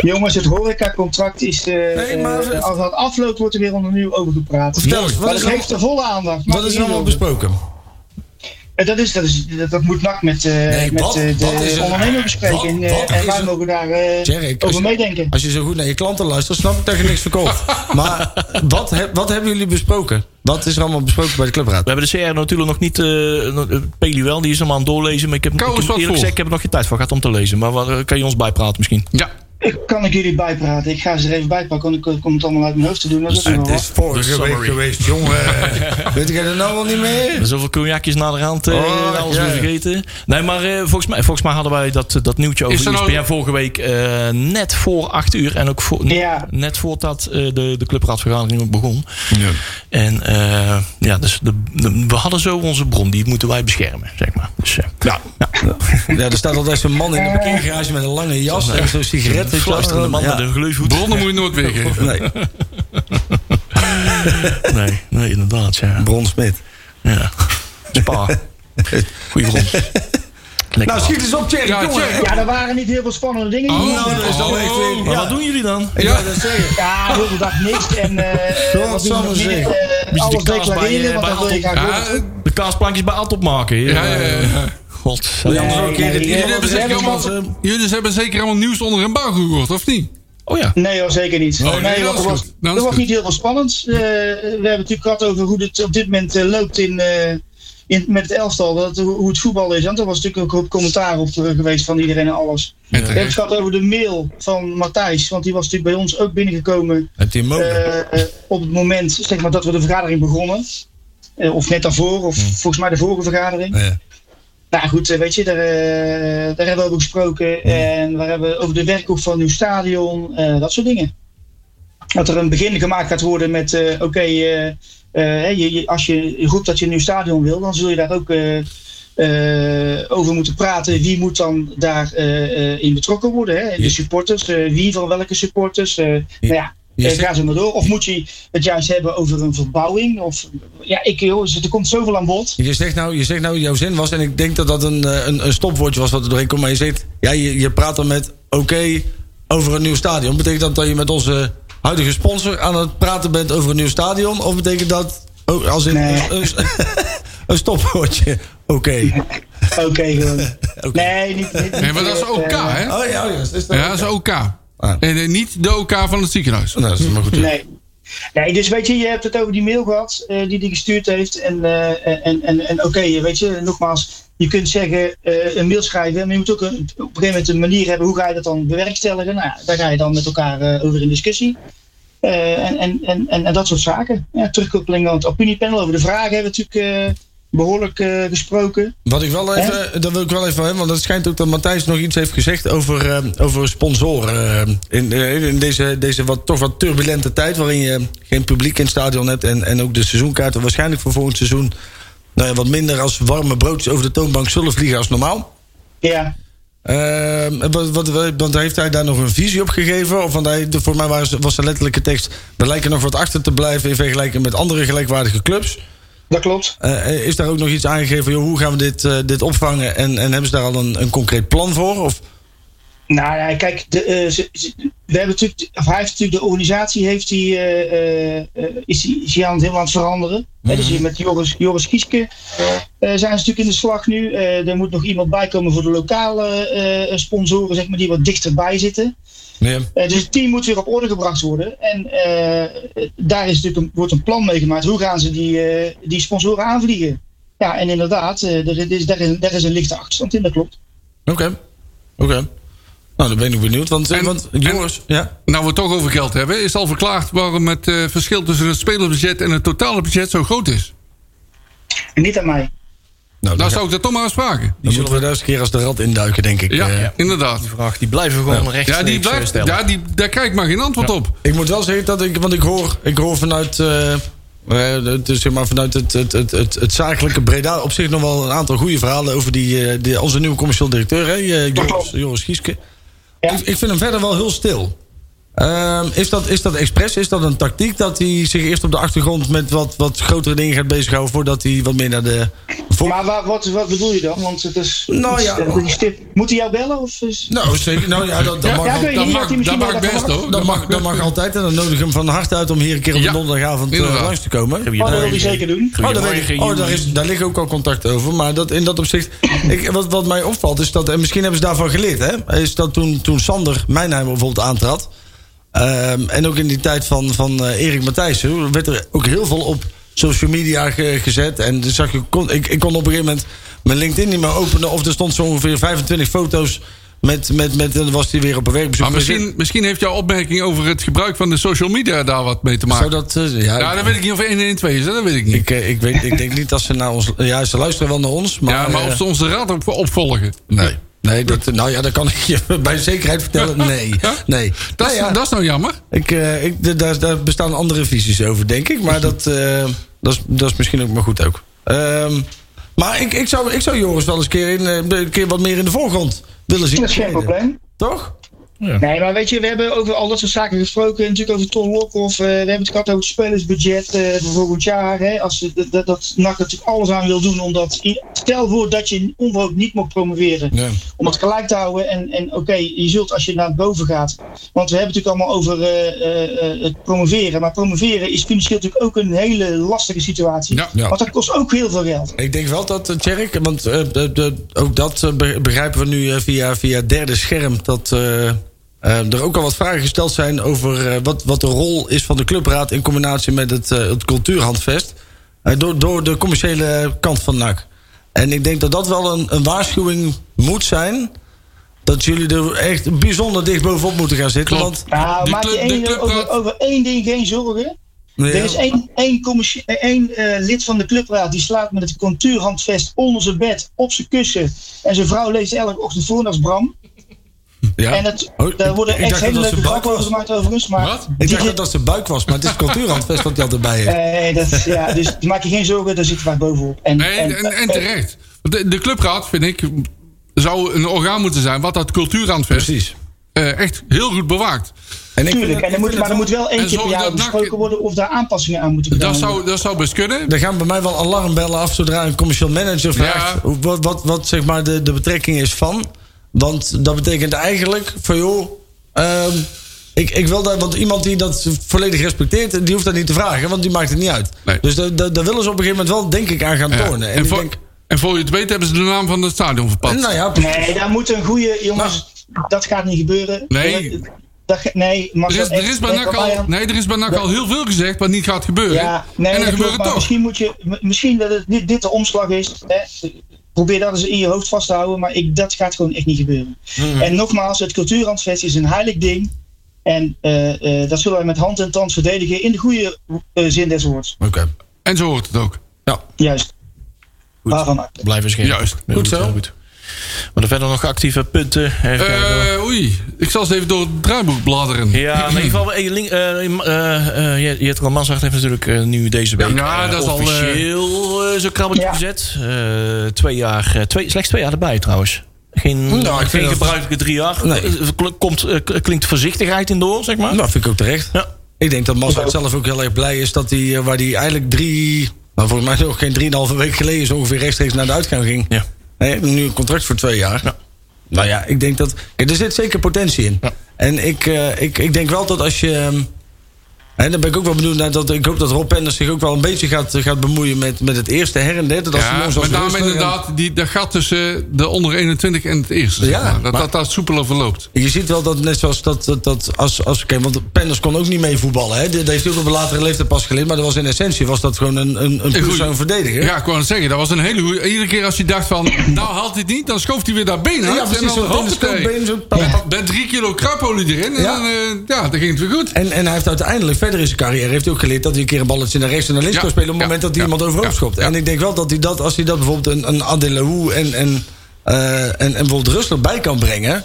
Jongens, het horecacontract is. eh
Nee, maar-
eh, als dat afloopt, wordt er weer opnieuw over gepraat.
Vertel eens, wat
maar
is
dat
er-
heeft de volle aandacht. Mag
Wat is
ik
er allemaal
niet over.
besproken?
Eh, Dat, is, dat, is, dat, dat moet NAC met, eh met
wat-
eh,
wat is
de
er-
ondernemer bespreken.
wat-
en, eh,
wat
en
is
wij
er-
mogen daar eh,
Jerry, als
over
je-
meedenken.
Als je zo goed naar je klanten luistert, snap ik dat je niks verkoopt. maar wat, he- wat hebben jullie besproken? Wat is er allemaal besproken bij de clubraad?
We hebben de CR natuurlijk nog niet. eh, nog- eh, Peli wel, die is allemaal aan het doorlezen. Maar ik heb, ik
Kou
heb
eens wat
eerlijk
voor.
gezegd, ik heb er nog geen tijd voor gehad om te lezen. Maar waar, eh, kan je ons bijpraten misschien?
Ja,
Ik- Kan ik jullie bijpraten? Ik ga ze er even bijpakken, want ik eh, kom het allemaal uit mijn hoofd te doen. maar Dat is nog wel wat.
vorige week geweest, jongen. Weet ik het nou al niet meer?
Zoveel cognacjes naar de hand, eh,
Oh,
alles
ja.
weer vergeten. Nee, maar eh, volgens, mij, volgens mij hadden wij dat, eh, dat nieuwtje
Is
over E
er nou-
ESPN vorige week eh, net voor 8 uur. En ook voor,
Ja.
net voordat eh, de, de clubraadvergadering ook begon. En eh, ja, dus de, de- we hadden zo onze bron. Die moeten wij beschermen, zeg maar. Dus, eh, ja.
Ja, er staat altijd zo'n man in een parkeergarage met een lange jas en zo'n sigaret. weet je wel.
Fluisterende man met een gleufhoed.
bronnen moet je nooit weergeven.
Nee,
Nee, nee, inderdaad, ja.
Bron Smit.
ja. Spa. Goeie bron. Lekker
Nou, schiet eens op, Thierry.
Ja,
jongen.
check.
Ja, er waren niet heel veel spannende dingen.
Oh,
hier.
Nou, dat is dan echt weer-
Maar wat doen jullie dan?
Ik
Ja.
wou dat zeggen.
Ja, heel de dag niks. En eh
Zoals
wat doen we nog
Sam
meer?
zegt.
Eh,
de
alles
kaas bij,
declareren,
eh,
want dan
bij
wil je graag
Ja,
horen.
eh,
De kaasplankjes bij Ad opmaken.
ja, ja, ja.
God.
Wil je anders ook een keer het
Jullie
iemand
Jullie hebben
anders
zeker
hebben,
allemaal-
want,
Jullie hebben zeker allemaal nieuws onder een bouw gehoord, of niet?
Oh ja.
Nee hoor, zeker niet.
Oh, nee, dat
want
is
er was,
goed. Dat is
er was
goed.
niet heel veel spannend. Eh, we hebben het natuurlijk gehad over hoe het op dit moment eh, loopt in, eh, in, met het elftal. Dat, hoe, hoe het voetbal is. Want er was natuurlijk ook een hoop commentaar op eh, geweest van iedereen en alles.
En
We hebben het
terecht.
gehad over de mail van Matthijs. Want die was natuurlijk bij ons ook binnengekomen
eh, Heb je
Oh,
hem ook?
eh, eh, op het moment zeg maar, dat we de vergadering begonnen. Eh, of net daarvoor, of
Hmm.
volgens mij de vorige vergadering.
Ja.
Nou goed, eh, weet je, daar, eh, daar hebben we over gesproken. En we hebben over de werkhoek van nieuw stadion, eh, dat soort dingen. Dat er een begin gemaakt gaat worden met, eh, oké, eh, eh, hè, je- je- als je roept dat je een nieuw stadion wil, dan zul je daar ook eh, eh, over moeten praten. Wie moet dan daarin in betrokken worden? Hè? De supporters, eh, wie van welke supporters? eh, Nou ja,
Je
eh,
zegt-
ga zo maar door. Of moet je het juist hebben over een verbouwing? Of, ja, ik, joh, er komt zoveel aan bod.
Je zegt, nou, je zegt nou, jouw zin was, en ik denk dat dat een, eh, een, een stopwoordje was wat er doorheen komt. Maar je zegt, ja, je, je praat dan met oké over een nieuw stadion. Betekent dat dat je met onze huidige sponsor aan het praten bent over een nieuw stadion? Of betekent dat oh, als in
Nee.
een, een- een stopwoordje? Oké.
Oké, gewoon. Nee, niet. niet,
Nee, maar dat is OK,
eh,
hè?
Oh ja, oh ja, is dat
Ja, dat is OK.
Ah.
En eh, niet de OK van het ziekenhuis.
Nou, dat is maar goed.
Nee. Nee, dus weet je, je hebt het over die mail gehad eh, die hij gestuurd heeft. En, eh, en, en, en oké, weet je, nogmaals, je kunt zeggen eh, een mail schrijven, maar je moet ook een, op een gegeven moment een manier hebben hoe ga je dat dan bewerkstelligen. Nou, ja, daar ga je dan met elkaar eh, over in discussie. Eh, en, en, en, en, en dat soort zaken. Ja, terugkoppeling aan het opiniepanel over de vragen hebben we natuurlijk behoorlijk eh, gesproken.
Wat ik wel even, dat wil ik wel even van hem, want het schijnt ook dat Matthijs nog iets heeft gezegd over, eh, over sponsoren. eh, in eh, in deze, deze wat, toch wat turbulente tijd waarin je geen publiek in het stadion hebt en, en ook de seizoenkaarten waarschijnlijk voor volgend seizoen nou ja, wat minder als warme broodjes over de toonbank zullen vliegen als normaal.
Ja,
Eh, wat, wat, wat- want heeft hij daar nog een visie op gegeven? Of want hij, de- voor mij was, was de letterlijke tekst, we lijken nog wat achter te blijven in vergelijking met andere gelijkwaardige clubs.
dat klopt.
Eh, is daar ook nog iets aangegeven? van, Joh, hoe gaan we dit, eh, dit opvangen? En, en hebben ze daar al een, een concreet plan voor? Of,
Nou ja, kijk, de, eh, ze- ze- we hebben natuurlijk, of hij heeft natuurlijk de organisatie, heeft hij, eh, eh, eh, is, die, is die aan het helemaal aan het veranderen. Hè, dus hier met Joris, Joris Kieske eh, zijn ze natuurlijk in de slag nu. Eh, er moet nog iemand bij komen voor de lokale eh, sponsoren, zeg maar, die wat dichterbij zitten. Eh, dus het team moet weer op orde gebracht worden. En eh, daar is natuurlijk een, wordt een plan mee gemaakt. Hoe gaan ze die, eh, die sponsoren aanvliegen? Ja, en inderdaad, eh, er, is, daar, is, daar is een lichte achterstand in, dat klopt.
Oké. Oké. Nou, dan ben ik benieuwd. Want, eh,
En-
want
en-
jongens, ja.
Nou, we het toch over geld hebben. Is al verklaard waarom het eh, verschil tussen het spelersbudget en het totale budget zo groot is.
Oh,
En niet aan mij.
Daar
Nou, dan,
zou ik dat toch maar eens vragen.
dan moeten we daar eens een keer als de rat induiken, denk ik.
Ja,
eh.
inderdaad.
vraag die blijven gewoon rechtstreeks
Ja, die
eh,
blijft,
stellen.
ja, die, daar krijg ik maar geen antwoord op.
Ik moet wel zeggen dat ik, want ik hoor, ik hoor vanuit, eh, eh, het is zeg maar vanuit het, het, het, het, het zakelijke Breda op zich nog wel een aantal goede verhalen over die, eh, die- onze nieuwe commercieel directeur, hè, eh, Joris,
klopt.
Joris Gieske.
Ja.
Ik, ik vind hem verder wel heel stil. Ehm, is, dat, is dat expres? Is dat een tactiek dat hij zich eerst op de achtergrond met wat, wat grotere dingen gaat bezighouden voordat hij wat meer naar de. voor-
Maar waar, wat, wat bedoel je dan? Want het is.
Nou
het is-
ja.
het is tip. Moet hij jou bellen? Of is...
Nou, zeker. Nou ja, dat, dat mag
ja,
al-
ik weet
Dat
niet,
mag,
had
dat
hij misschien
mag
wel even
best hoor.
dat mag, dat mag altijd en dan nodig ik hem van harte uit om hier een keer op
Ja.
de donderdagavond eh,
Inderdaad.
langs te komen.
Heb je
Oh, dat wil
een
hij zeker doen.
Oh, daar, weet ik. Oh, daar, is, daar liggen ook al contact over. Maar dat, in dat opzicht. Ik, wat, wat mij opvalt is dat. En misschien hebben ze daarvan geleerd. Hè, is dat toen, toen Sander Mijnheim bijvoorbeeld aantrad. ehm, en ook in die tijd van, van eh, Erik Matthijssen. werd er ook heel veel op social media ge- gezet. En dus zag je, kon, ik, ik kon op een gegeven moment mijn LinkedIn niet meer openen. Of er stond zo ongeveer 25 foto's. Met, met, met, en dan was hij weer op een werkbezoek.
Maar misschien, misschien heeft jouw opmerking over het gebruik van de social media daar wat mee te
Zou
maken.
dat. eh, ja,
Ja, dat weet ik niet of 112 is, hè? dat weet ik niet.
ik, eh, ik, weet, ik denk niet dat ze naar ons. Ja, ze luisteren wel naar ons. Maar,
ja, maar
eh,
of ze onze raad op, opvolgen.
Nee. Nee, dat, nou ja, dat kan ik je bij zekerheid vertellen. Nee. nee.
Dat, is,
Nou ja,
dat is nou jammer.
ik, eh, ik, d- daar, daar bestaan andere visies over, denk ik. Maar dat, eh, dat, is, dat is misschien ook maar goed ook. Ehm, maar ik, ik, zou, ik zou Joris wel eens een keer, in, eh, een keer wat meer in de voorgrond willen zien.
Dat is geen
treden.
probleem.
Toch?
Nee, maar weet je, we hebben over al dat soort zaken gesproken. Natuurlijk over Ton Lokhoff. eh, we hebben het gehad over het spelersbudget eh, voor volgend jaar. Hè, als, ze- dat, dat, dat NAC natuurlijk alles aan wil doen. Omdat, i- stel voor dat je onverhoopt niet mocht promoveren.
Ja.
Om het gelijk te houden. En, en oké, je zult als je naar boven gaat. Want we hebben het natuurlijk allemaal over eh, eh, eh, het promoveren. Maar promoveren is financieel natuurlijk ook een hele lastige situatie.
Ja.
Ja.
Want dat kost ook heel veel geld.
Ik denk wel dat, eh, Tjerk, want eh, de- de- ook dat eh, be- begrijpen we nu eh, via, via het derde scherm. Dat eh, eh, er ook al wat vragen gesteld zijn over eh, wat, wat de rol is van de clubraad in combinatie met het, eh, het cultuurhandvest. eh, door, door de commerciële kant van NAC. En ik denk dat dat wel een, een waarschuwing moet zijn. Dat jullie er echt bijzonder dicht bovenop moeten gaan zitten.
Klopt.
Nou,
De
maak je
club- de
één,
club-
over, over één ding geen zorgen.
Want, eh,
Er is één, één, commercie- eh, één eh, lid van de clubraad die slaapt met het contuurhandvest onder zijn bed, op zijn kussen. En zijn vrouw leest elke ochtend voor naar Bram.
ja.
En het,
Oh,
daar
ik-
worden
ik
echt
dacht
hele
dat dat
leuke
zijn buik
grappen over
was.
gemaakt overigens. Maar
Wat?
Ik
die- Eh,
dacht dat dat zijn buik was, maar het is het cultuurhandvest wat hij altijd bij heeft.
Nee, dat, ja, dus maak je geen zorgen, daar zitten wij bovenop. En,
Nee, en, en, en terecht. Want De, de clubraad, vind ik, zou een orgaan moeten zijn wat dat cultuurhandvest
Precies.
eh, echt heel goed bewaakt.
En ik
Tuurlijk, en er moet, maar er moet wel één
En
keer per
zorg
jaar
dat NAC-
besproken worden of daar aanpassingen aan moeten
Dat
komen.
zou, dat zou best kunnen.
Er gaan bij mij wel alarmbellen af zodra een commercieel manager vraagt
Ja.
hoe- wat, wat, wat zeg maar de, de betrekking is van. Want dat betekent eigenlijk van joh, ehm, ik, ik wil dat, want iemand die dat volledig respecteert, die hoeft dat niet te vragen, want die maakt het niet uit.
Nee.
Dus da- da- daar willen ze op een gegeven moment wel, denk ik, aan gaan
Ja.
tornen. En,
En,
ik
voor,
denk,
en voor je het weet hebben ze de naam van het stadion verpand.
nou ja, precies.
Nee, daar moet een goede, jongens, dat gaat niet gebeuren.
Nee.
Dat, ga- nee,
er,
Marcel,
is, er,
echt,
is bij
denk
NAC
er maar
al,
aan.
nee, er is bij NAC al heel veel gezegd wat niet gaat gebeuren.
Ja, nee,
en
dat
dan
klopt,
gebeurt het
maar
toch.
misschien, moet je, m- misschien dat het, dit, dit de omslag is. Hè. Probeer dat eens in je hoofd vast te houden, maar ik, dat gaat gewoon echt niet gebeuren.
Mhm.
En nogmaals, het cultuurhandvest is een heilig ding. En eh, eh, dat zullen wij met hand en tand verdedigen in de goede eh, zin des woords.
Oké.
En zo hoort het ook.
Ja.
Juist. Waarvan maakt het?
Blijven scherp.
Juist.
Heel
Goed zo.
heel goed. Maar er verder nog actieve punten. Even kijken hoor.
Eh, oei, ik zal eens even door het draaiboek bladeren.
Ja, maar in ieder geval, eh, link- eh, eh, eh, eh, Jetro Manzacht heeft natuurlijk eh, nu deze week
ja,
eh,
dat is al, eh,
officieel eh, zo'n krabbeltje
Ja.
gezet. Eh, twee jaar, eh, twee, slechts twee jaar erbij trouwens. Geen,
ik
geen
vind dat-
gebruikelijke drie jaar.
Nee.
Eh, kl- Komt, eh, k- klinkt voorzichtigheid in door, zeg maar.
Nou, vind ik ook terecht.
Ja.
Ik denk dat Mazda zelf ook heel erg blij is dat hij, eh, waar hij eigenlijk drie, nou volgens mij nog geen drieënhalve week geleden, zo ongeveer rechtstreeks naar de uitgang ging.
Ja.
Hij heeft nu een contract voor twee jaar.
Ja.
Nou ja, ik denk dat. kijk, Er zit zeker potentie in.
Ja.
En ik, eh, ik, ik denk wel dat als je. ehm, En dan ben ik ook wel benieuwd naar dat. Ik hoop dat Rob Penders zich ook wel een beetje gaat, eh, gaat bemoeien met, met het eerste her en derde. Dat ze
Ja,
jongens als
met name
Rusler en-
inderdaad die, dat gat tussen de onder 21 en het eerste.
Ja,
zeg maar. dat,
maar-
dat dat soepeler verloopt.
Je ziet wel dat net zoals dat, dat, dat als, als oké, want Penders kon ook niet mee voetballen. Hè? Dat heeft hij ook op een latere leeftijd pas geleerd. Maar dat was in essentie was dat gewoon een, een, een puur
goeie-
zo'n verdediger.
Ja, ik wou het zeggen, dat was een hele goeie. Iedere keer als je dacht van, nou haalt hij het niet, dan schoof hij weer dat been uit.
Ja, precies,
en dan
zo'n
hoppatee.
tenniskoopbeen, zo'n pa-
Ja. Met drie kilo kruipolie erin. En
Ja.
dan, eh, ja, dan ging het weer goed.
En, en hij heeft uiteindelijk verder in zijn carrière heeft hij ook geleerd dat hij een keer een balletje naar rechts en naar links
Ja,
kan spelen op het
ja,
moment dat hij
ja,
iemand overhoop
ja,
schopt.
ja.
En ik denk wel dat hij dat, als hij dat bijvoorbeeld een, een Adelou en, en, eh, en, en bijvoorbeeld Rusler bij kan brengen.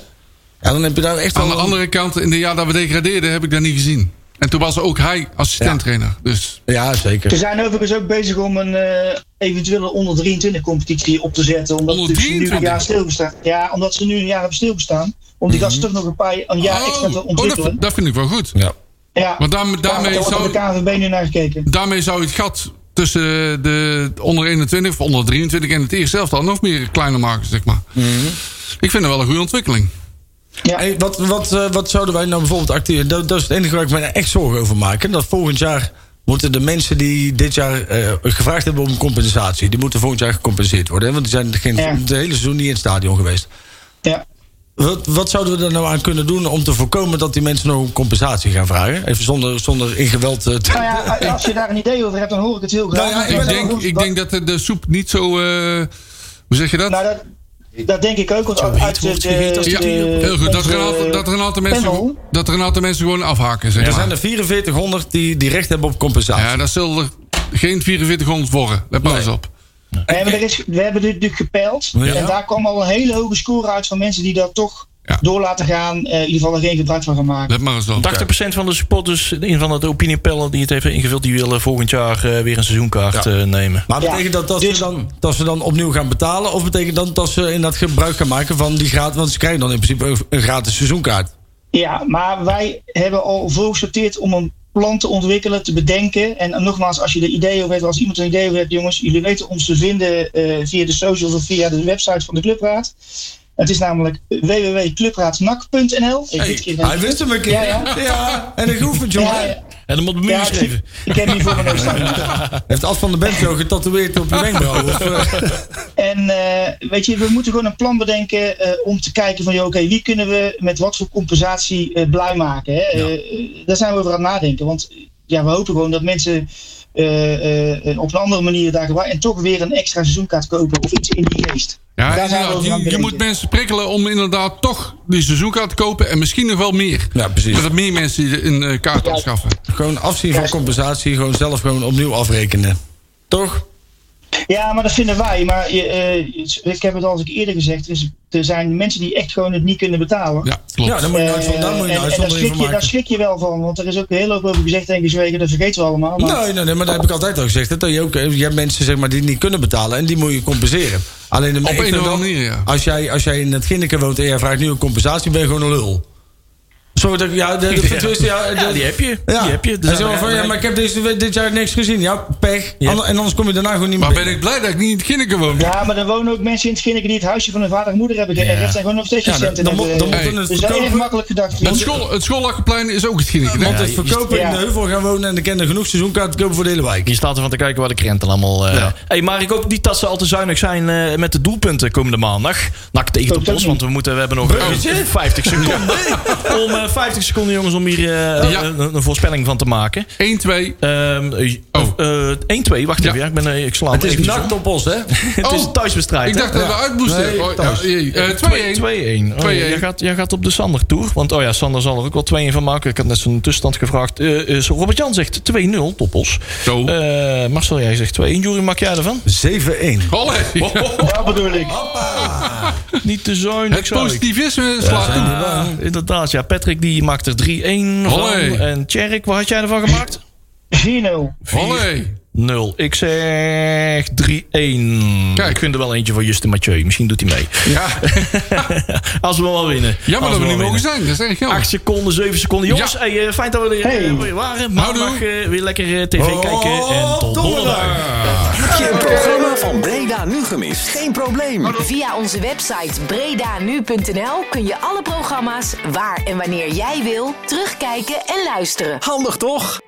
Ja, dan heb je daar echt wel
Aan de
een-
andere kant, in de jaar dat we degradeerden, heb ik dat niet gezien. En toen was ook hij assistenttrainer. Dus
Ja, zeker.
Ze zijn overigens ook bezig om een eh, eventuele onder 23 competitie op te zetten. Omdat
Onder
ze nu een
23?
jaar stilgestaan. Ja, omdat ze nu een jaar hebben stilgestaan. Om die gasten toch nog een paar een jaar extra te
Mhm. oh, oh, dat,
ontwikkelen.
vind- dat vind ik wel goed.
Ja.
ja,
Want daarmee- daarmee
daar wordt
zou-
door de KVB nu naar gekeken.
Daarmee zou het gat tussen de onder 21 of onder 23 en het eerste zelf dan nog meer kleiner maken, zeg maar. Ik vind dat wel een goede ontwikkeling.
Ja.
Hey, wat, wat, eh, wat zouden wij nou bijvoorbeeld acteren? Dat, dat is het enige waar ik me nou echt zorgen over maak. hè. Dat volgend jaar moeten de mensen die dit jaar eh, gevraagd hebben om compensatie, die moeten volgend jaar gecompenseerd worden. Hè? Want die zijn geen,
Ja.
het hele seizoen niet in het stadion geweest.
ja.
Wat, wat zouden we er nou aan kunnen doen om te voorkomen dat die mensen nog compensatie gaan vragen? Even zonder, zonder in geweld eh, te.
Nou ja, als je daar een idee over hebt, dan hoor ik het heel graag.
Nou ja,
Ik denk, ik denk dat de- de soep niet zo. eh, hoe zeg je dat?
Nou, dat, dat denk ik ook. Want ook uit de, de-
Ja,
de-
heel goed. Dat er, een aantal,
onze
dat, er een aantal mensen,
panel.
dat er een aantal mensen gewoon afhaken. Zeg
Er
maar.
zijn er 4400 die, die recht hebben op compensatie.
Ja, dat zullen er geen 4400 worden. Let maar
Nee.
eens op.
Nee, maar er is, we hebben dit natuurlijk gepeild.
Ja.
En daar kwam al een hele hoge score uit van mensen die dat toch
Ja.
door laten gaan. eh, in ieder geval er geen gebruik van gaan maken.
Let maar eens op.
80% van de supporters in van het opiniepellen die het heeft ingevuld, die willen volgend jaar eh, weer een seizoenkaart eh, nemen.
Maar
Ja,
betekent dat dat,
dus-
ze dan, dat ze dan opnieuw gaan betalen? Of betekent dat dat ze in dat gebruik gaan maken van die gratis... Want ze krijgen dan in principe een gratis seizoenkaart.
Ja, maar wij hebben al voorgesorteerd om een plan te ontwikkelen, te bedenken. En nogmaals, als je er ideeën over hebt, als iemand een idee over heeft, jongens, jullie weten ons te vinden eh, via de socials of via de website van de Clubraad. Het is namelijk www.clubraadnak.nl. Ik dit keer-
Hij wist hem een keer.
Ja, ja.
en ik hoef het, jongen.
Ja, ja.
En dan moet de
Ja,
muur
ik,
geven.
ik heb hier voor mijn neus staan.
Heeft Ad van de Bent zo getatoeëerd op je wenkbrauw? Of, eh,
En eh, weet je, we moeten gewoon een plan bedenken eh, om te kijken van, joh, oké, wie kunnen we met wat voor compensatie eh, blij maken? Hè? Eh, daar zijn we over aan het nadenken. Want eh, ja, we hopen gewoon dat mensen eh, eh, op een andere manier daar gebruik en toch weer een extra seizoenkaart kopen of iets in die geest.
Ja,
daar zijn we
inderdaad,
over aan
je,
het
je moet
denken.
mensen prikkelen om inderdaad toch die seizoenkaart te kopen. En misschien nog wel meer.
Ja, precies.
Dat er meer mensen die een eh, kaart aanschaffen.
gewoon afzien van compensatie. Gewoon zelf gewoon opnieuw afrekenen. Toch?
Ja, maar dat vinden wij. Maar je, eh, ik heb het al eens eerder gezegd, dus er zijn mensen die echt gewoon het niet kunnen betalen.
Ja, klopt.
Ja, dan moet je een uitzondering- daar moet je een
Eh, en- en daar
uitzondering
schrik,
van
je, daar
maken.
schrik je wel van, want er is ook heel hoop over gezegd en gezwegen, dat vergeten we allemaal. Maar
Nee, nee, nee, maar dat heb ik altijd al gezegd. hè, Dat je, ook, eh, je hebt mensen zeg maar, die niet kunnen betalen en die moet je compenseren. Alleen de
een
ik vind
of andere
wel,
manier, ja.
Als jij, als jij in het Ginneke woont en jij vraagt nu een compensatie, ben je gewoon een lul. Sorry dat ik. Ja, de, de, de- ja, de-
Ja, die heb je.
Ja.
Die heb je.
Hij zei wel van, ja, maar ik heb deze, we- dit jaar niks gezien. Ja, pech. Ander- en anders kom je daarna gewoon niet meer
Maar ben
binnen.
ik blij dat ik niet in het Kinneke woon.
Ja, maar er wonen ook mensen in het Schinneke die het huisje van hun vader en moeder hebben geërfd. En gewoon nog steeds
Ja,
geen
dan,
centen
dan,
hebben.
moet- dan
Hey.
moeten het
dus dat is erg
verkopen...
makkelijk gedacht.
Het, school, het schoollakkenplein is ook het Ginneke.
Want
hè?
het verkopen in de
ja.
heuvel gaan wonen en dan kennen genoeg seizoenkaarten te kopen voor de hele wijk.
Je staat ervan te kijken waar de krenten allemaal... eh hey, maar ik hoop niet dat ze al te zuinig zijn eh, met de doelpunten komende maandag. Nak tegen de
Ook dat
bos,
niet.
want we, moeten, we hebben nog eh, 50 seconden om eh, eh, 50 seconden, jongens, om hier eh,
Ja.
een, een voorspelling van te maken.
1, 2.
Ehm, eh,
Oh.
eh, 1-2, wacht
Ja.
even. Ja, ik, ben, eh, ik sla
Het
hem
is
eventjes
nakt
om.
op ons, hè?
Het is een thuiswedstrijd.
Ik dacht dat we uitmoesten.
Nee,
Oh, ja,
thuis.
jee. Eh, 2-1.
2-1. Oh,
2-1.
jij, gaat, jij gaat op de Sander tour. Want oh ja, Sander zal er ook wel 2-1 van maken. Ik had net zo'n tussenstand gevraagd. Eh, eh, Robert Jan zegt 2-0, toppos.
Zo.
Eh, Marcel, jij zegt 2-1. Jury, maak jij ervan?
7-1.
Allee.
Dat bedoel ik.
Niet te zuinig.
Het
zou ik.
positivisme slaat toe.
Ah, inderdaad, ja. Patrick die maakt er 3-1 van.
Olé.
En Tjerk, wat had jij ervan gemaakt?
4-0.
4.
0. Ik zeg 3-1.
Kijk.
Ik vind er wel eentje voor Justin Mathieu. Misschien doet hij mee.
Ja,
Als we wel winnen.
jammer
Als
dat
we
we niet
wel
mogen
winnen.
zijn. Dat is echt jammer.
8 seconden, 7 seconden. Jongens,
Ja.
hey, eh, fijn dat we er eh,
Hey.
weer waren. Maandag
Houdoe.
eh, weer lekker eh, tv kijken. En tot
Oh, donderdag.
donderdag.
Heb je een programma van Breda nu gemist? Geen probleem.
Via onze website bredanu.nl kun je alle programma's waar en wanneer jij wil terugkijken en luisteren.
Handig toch?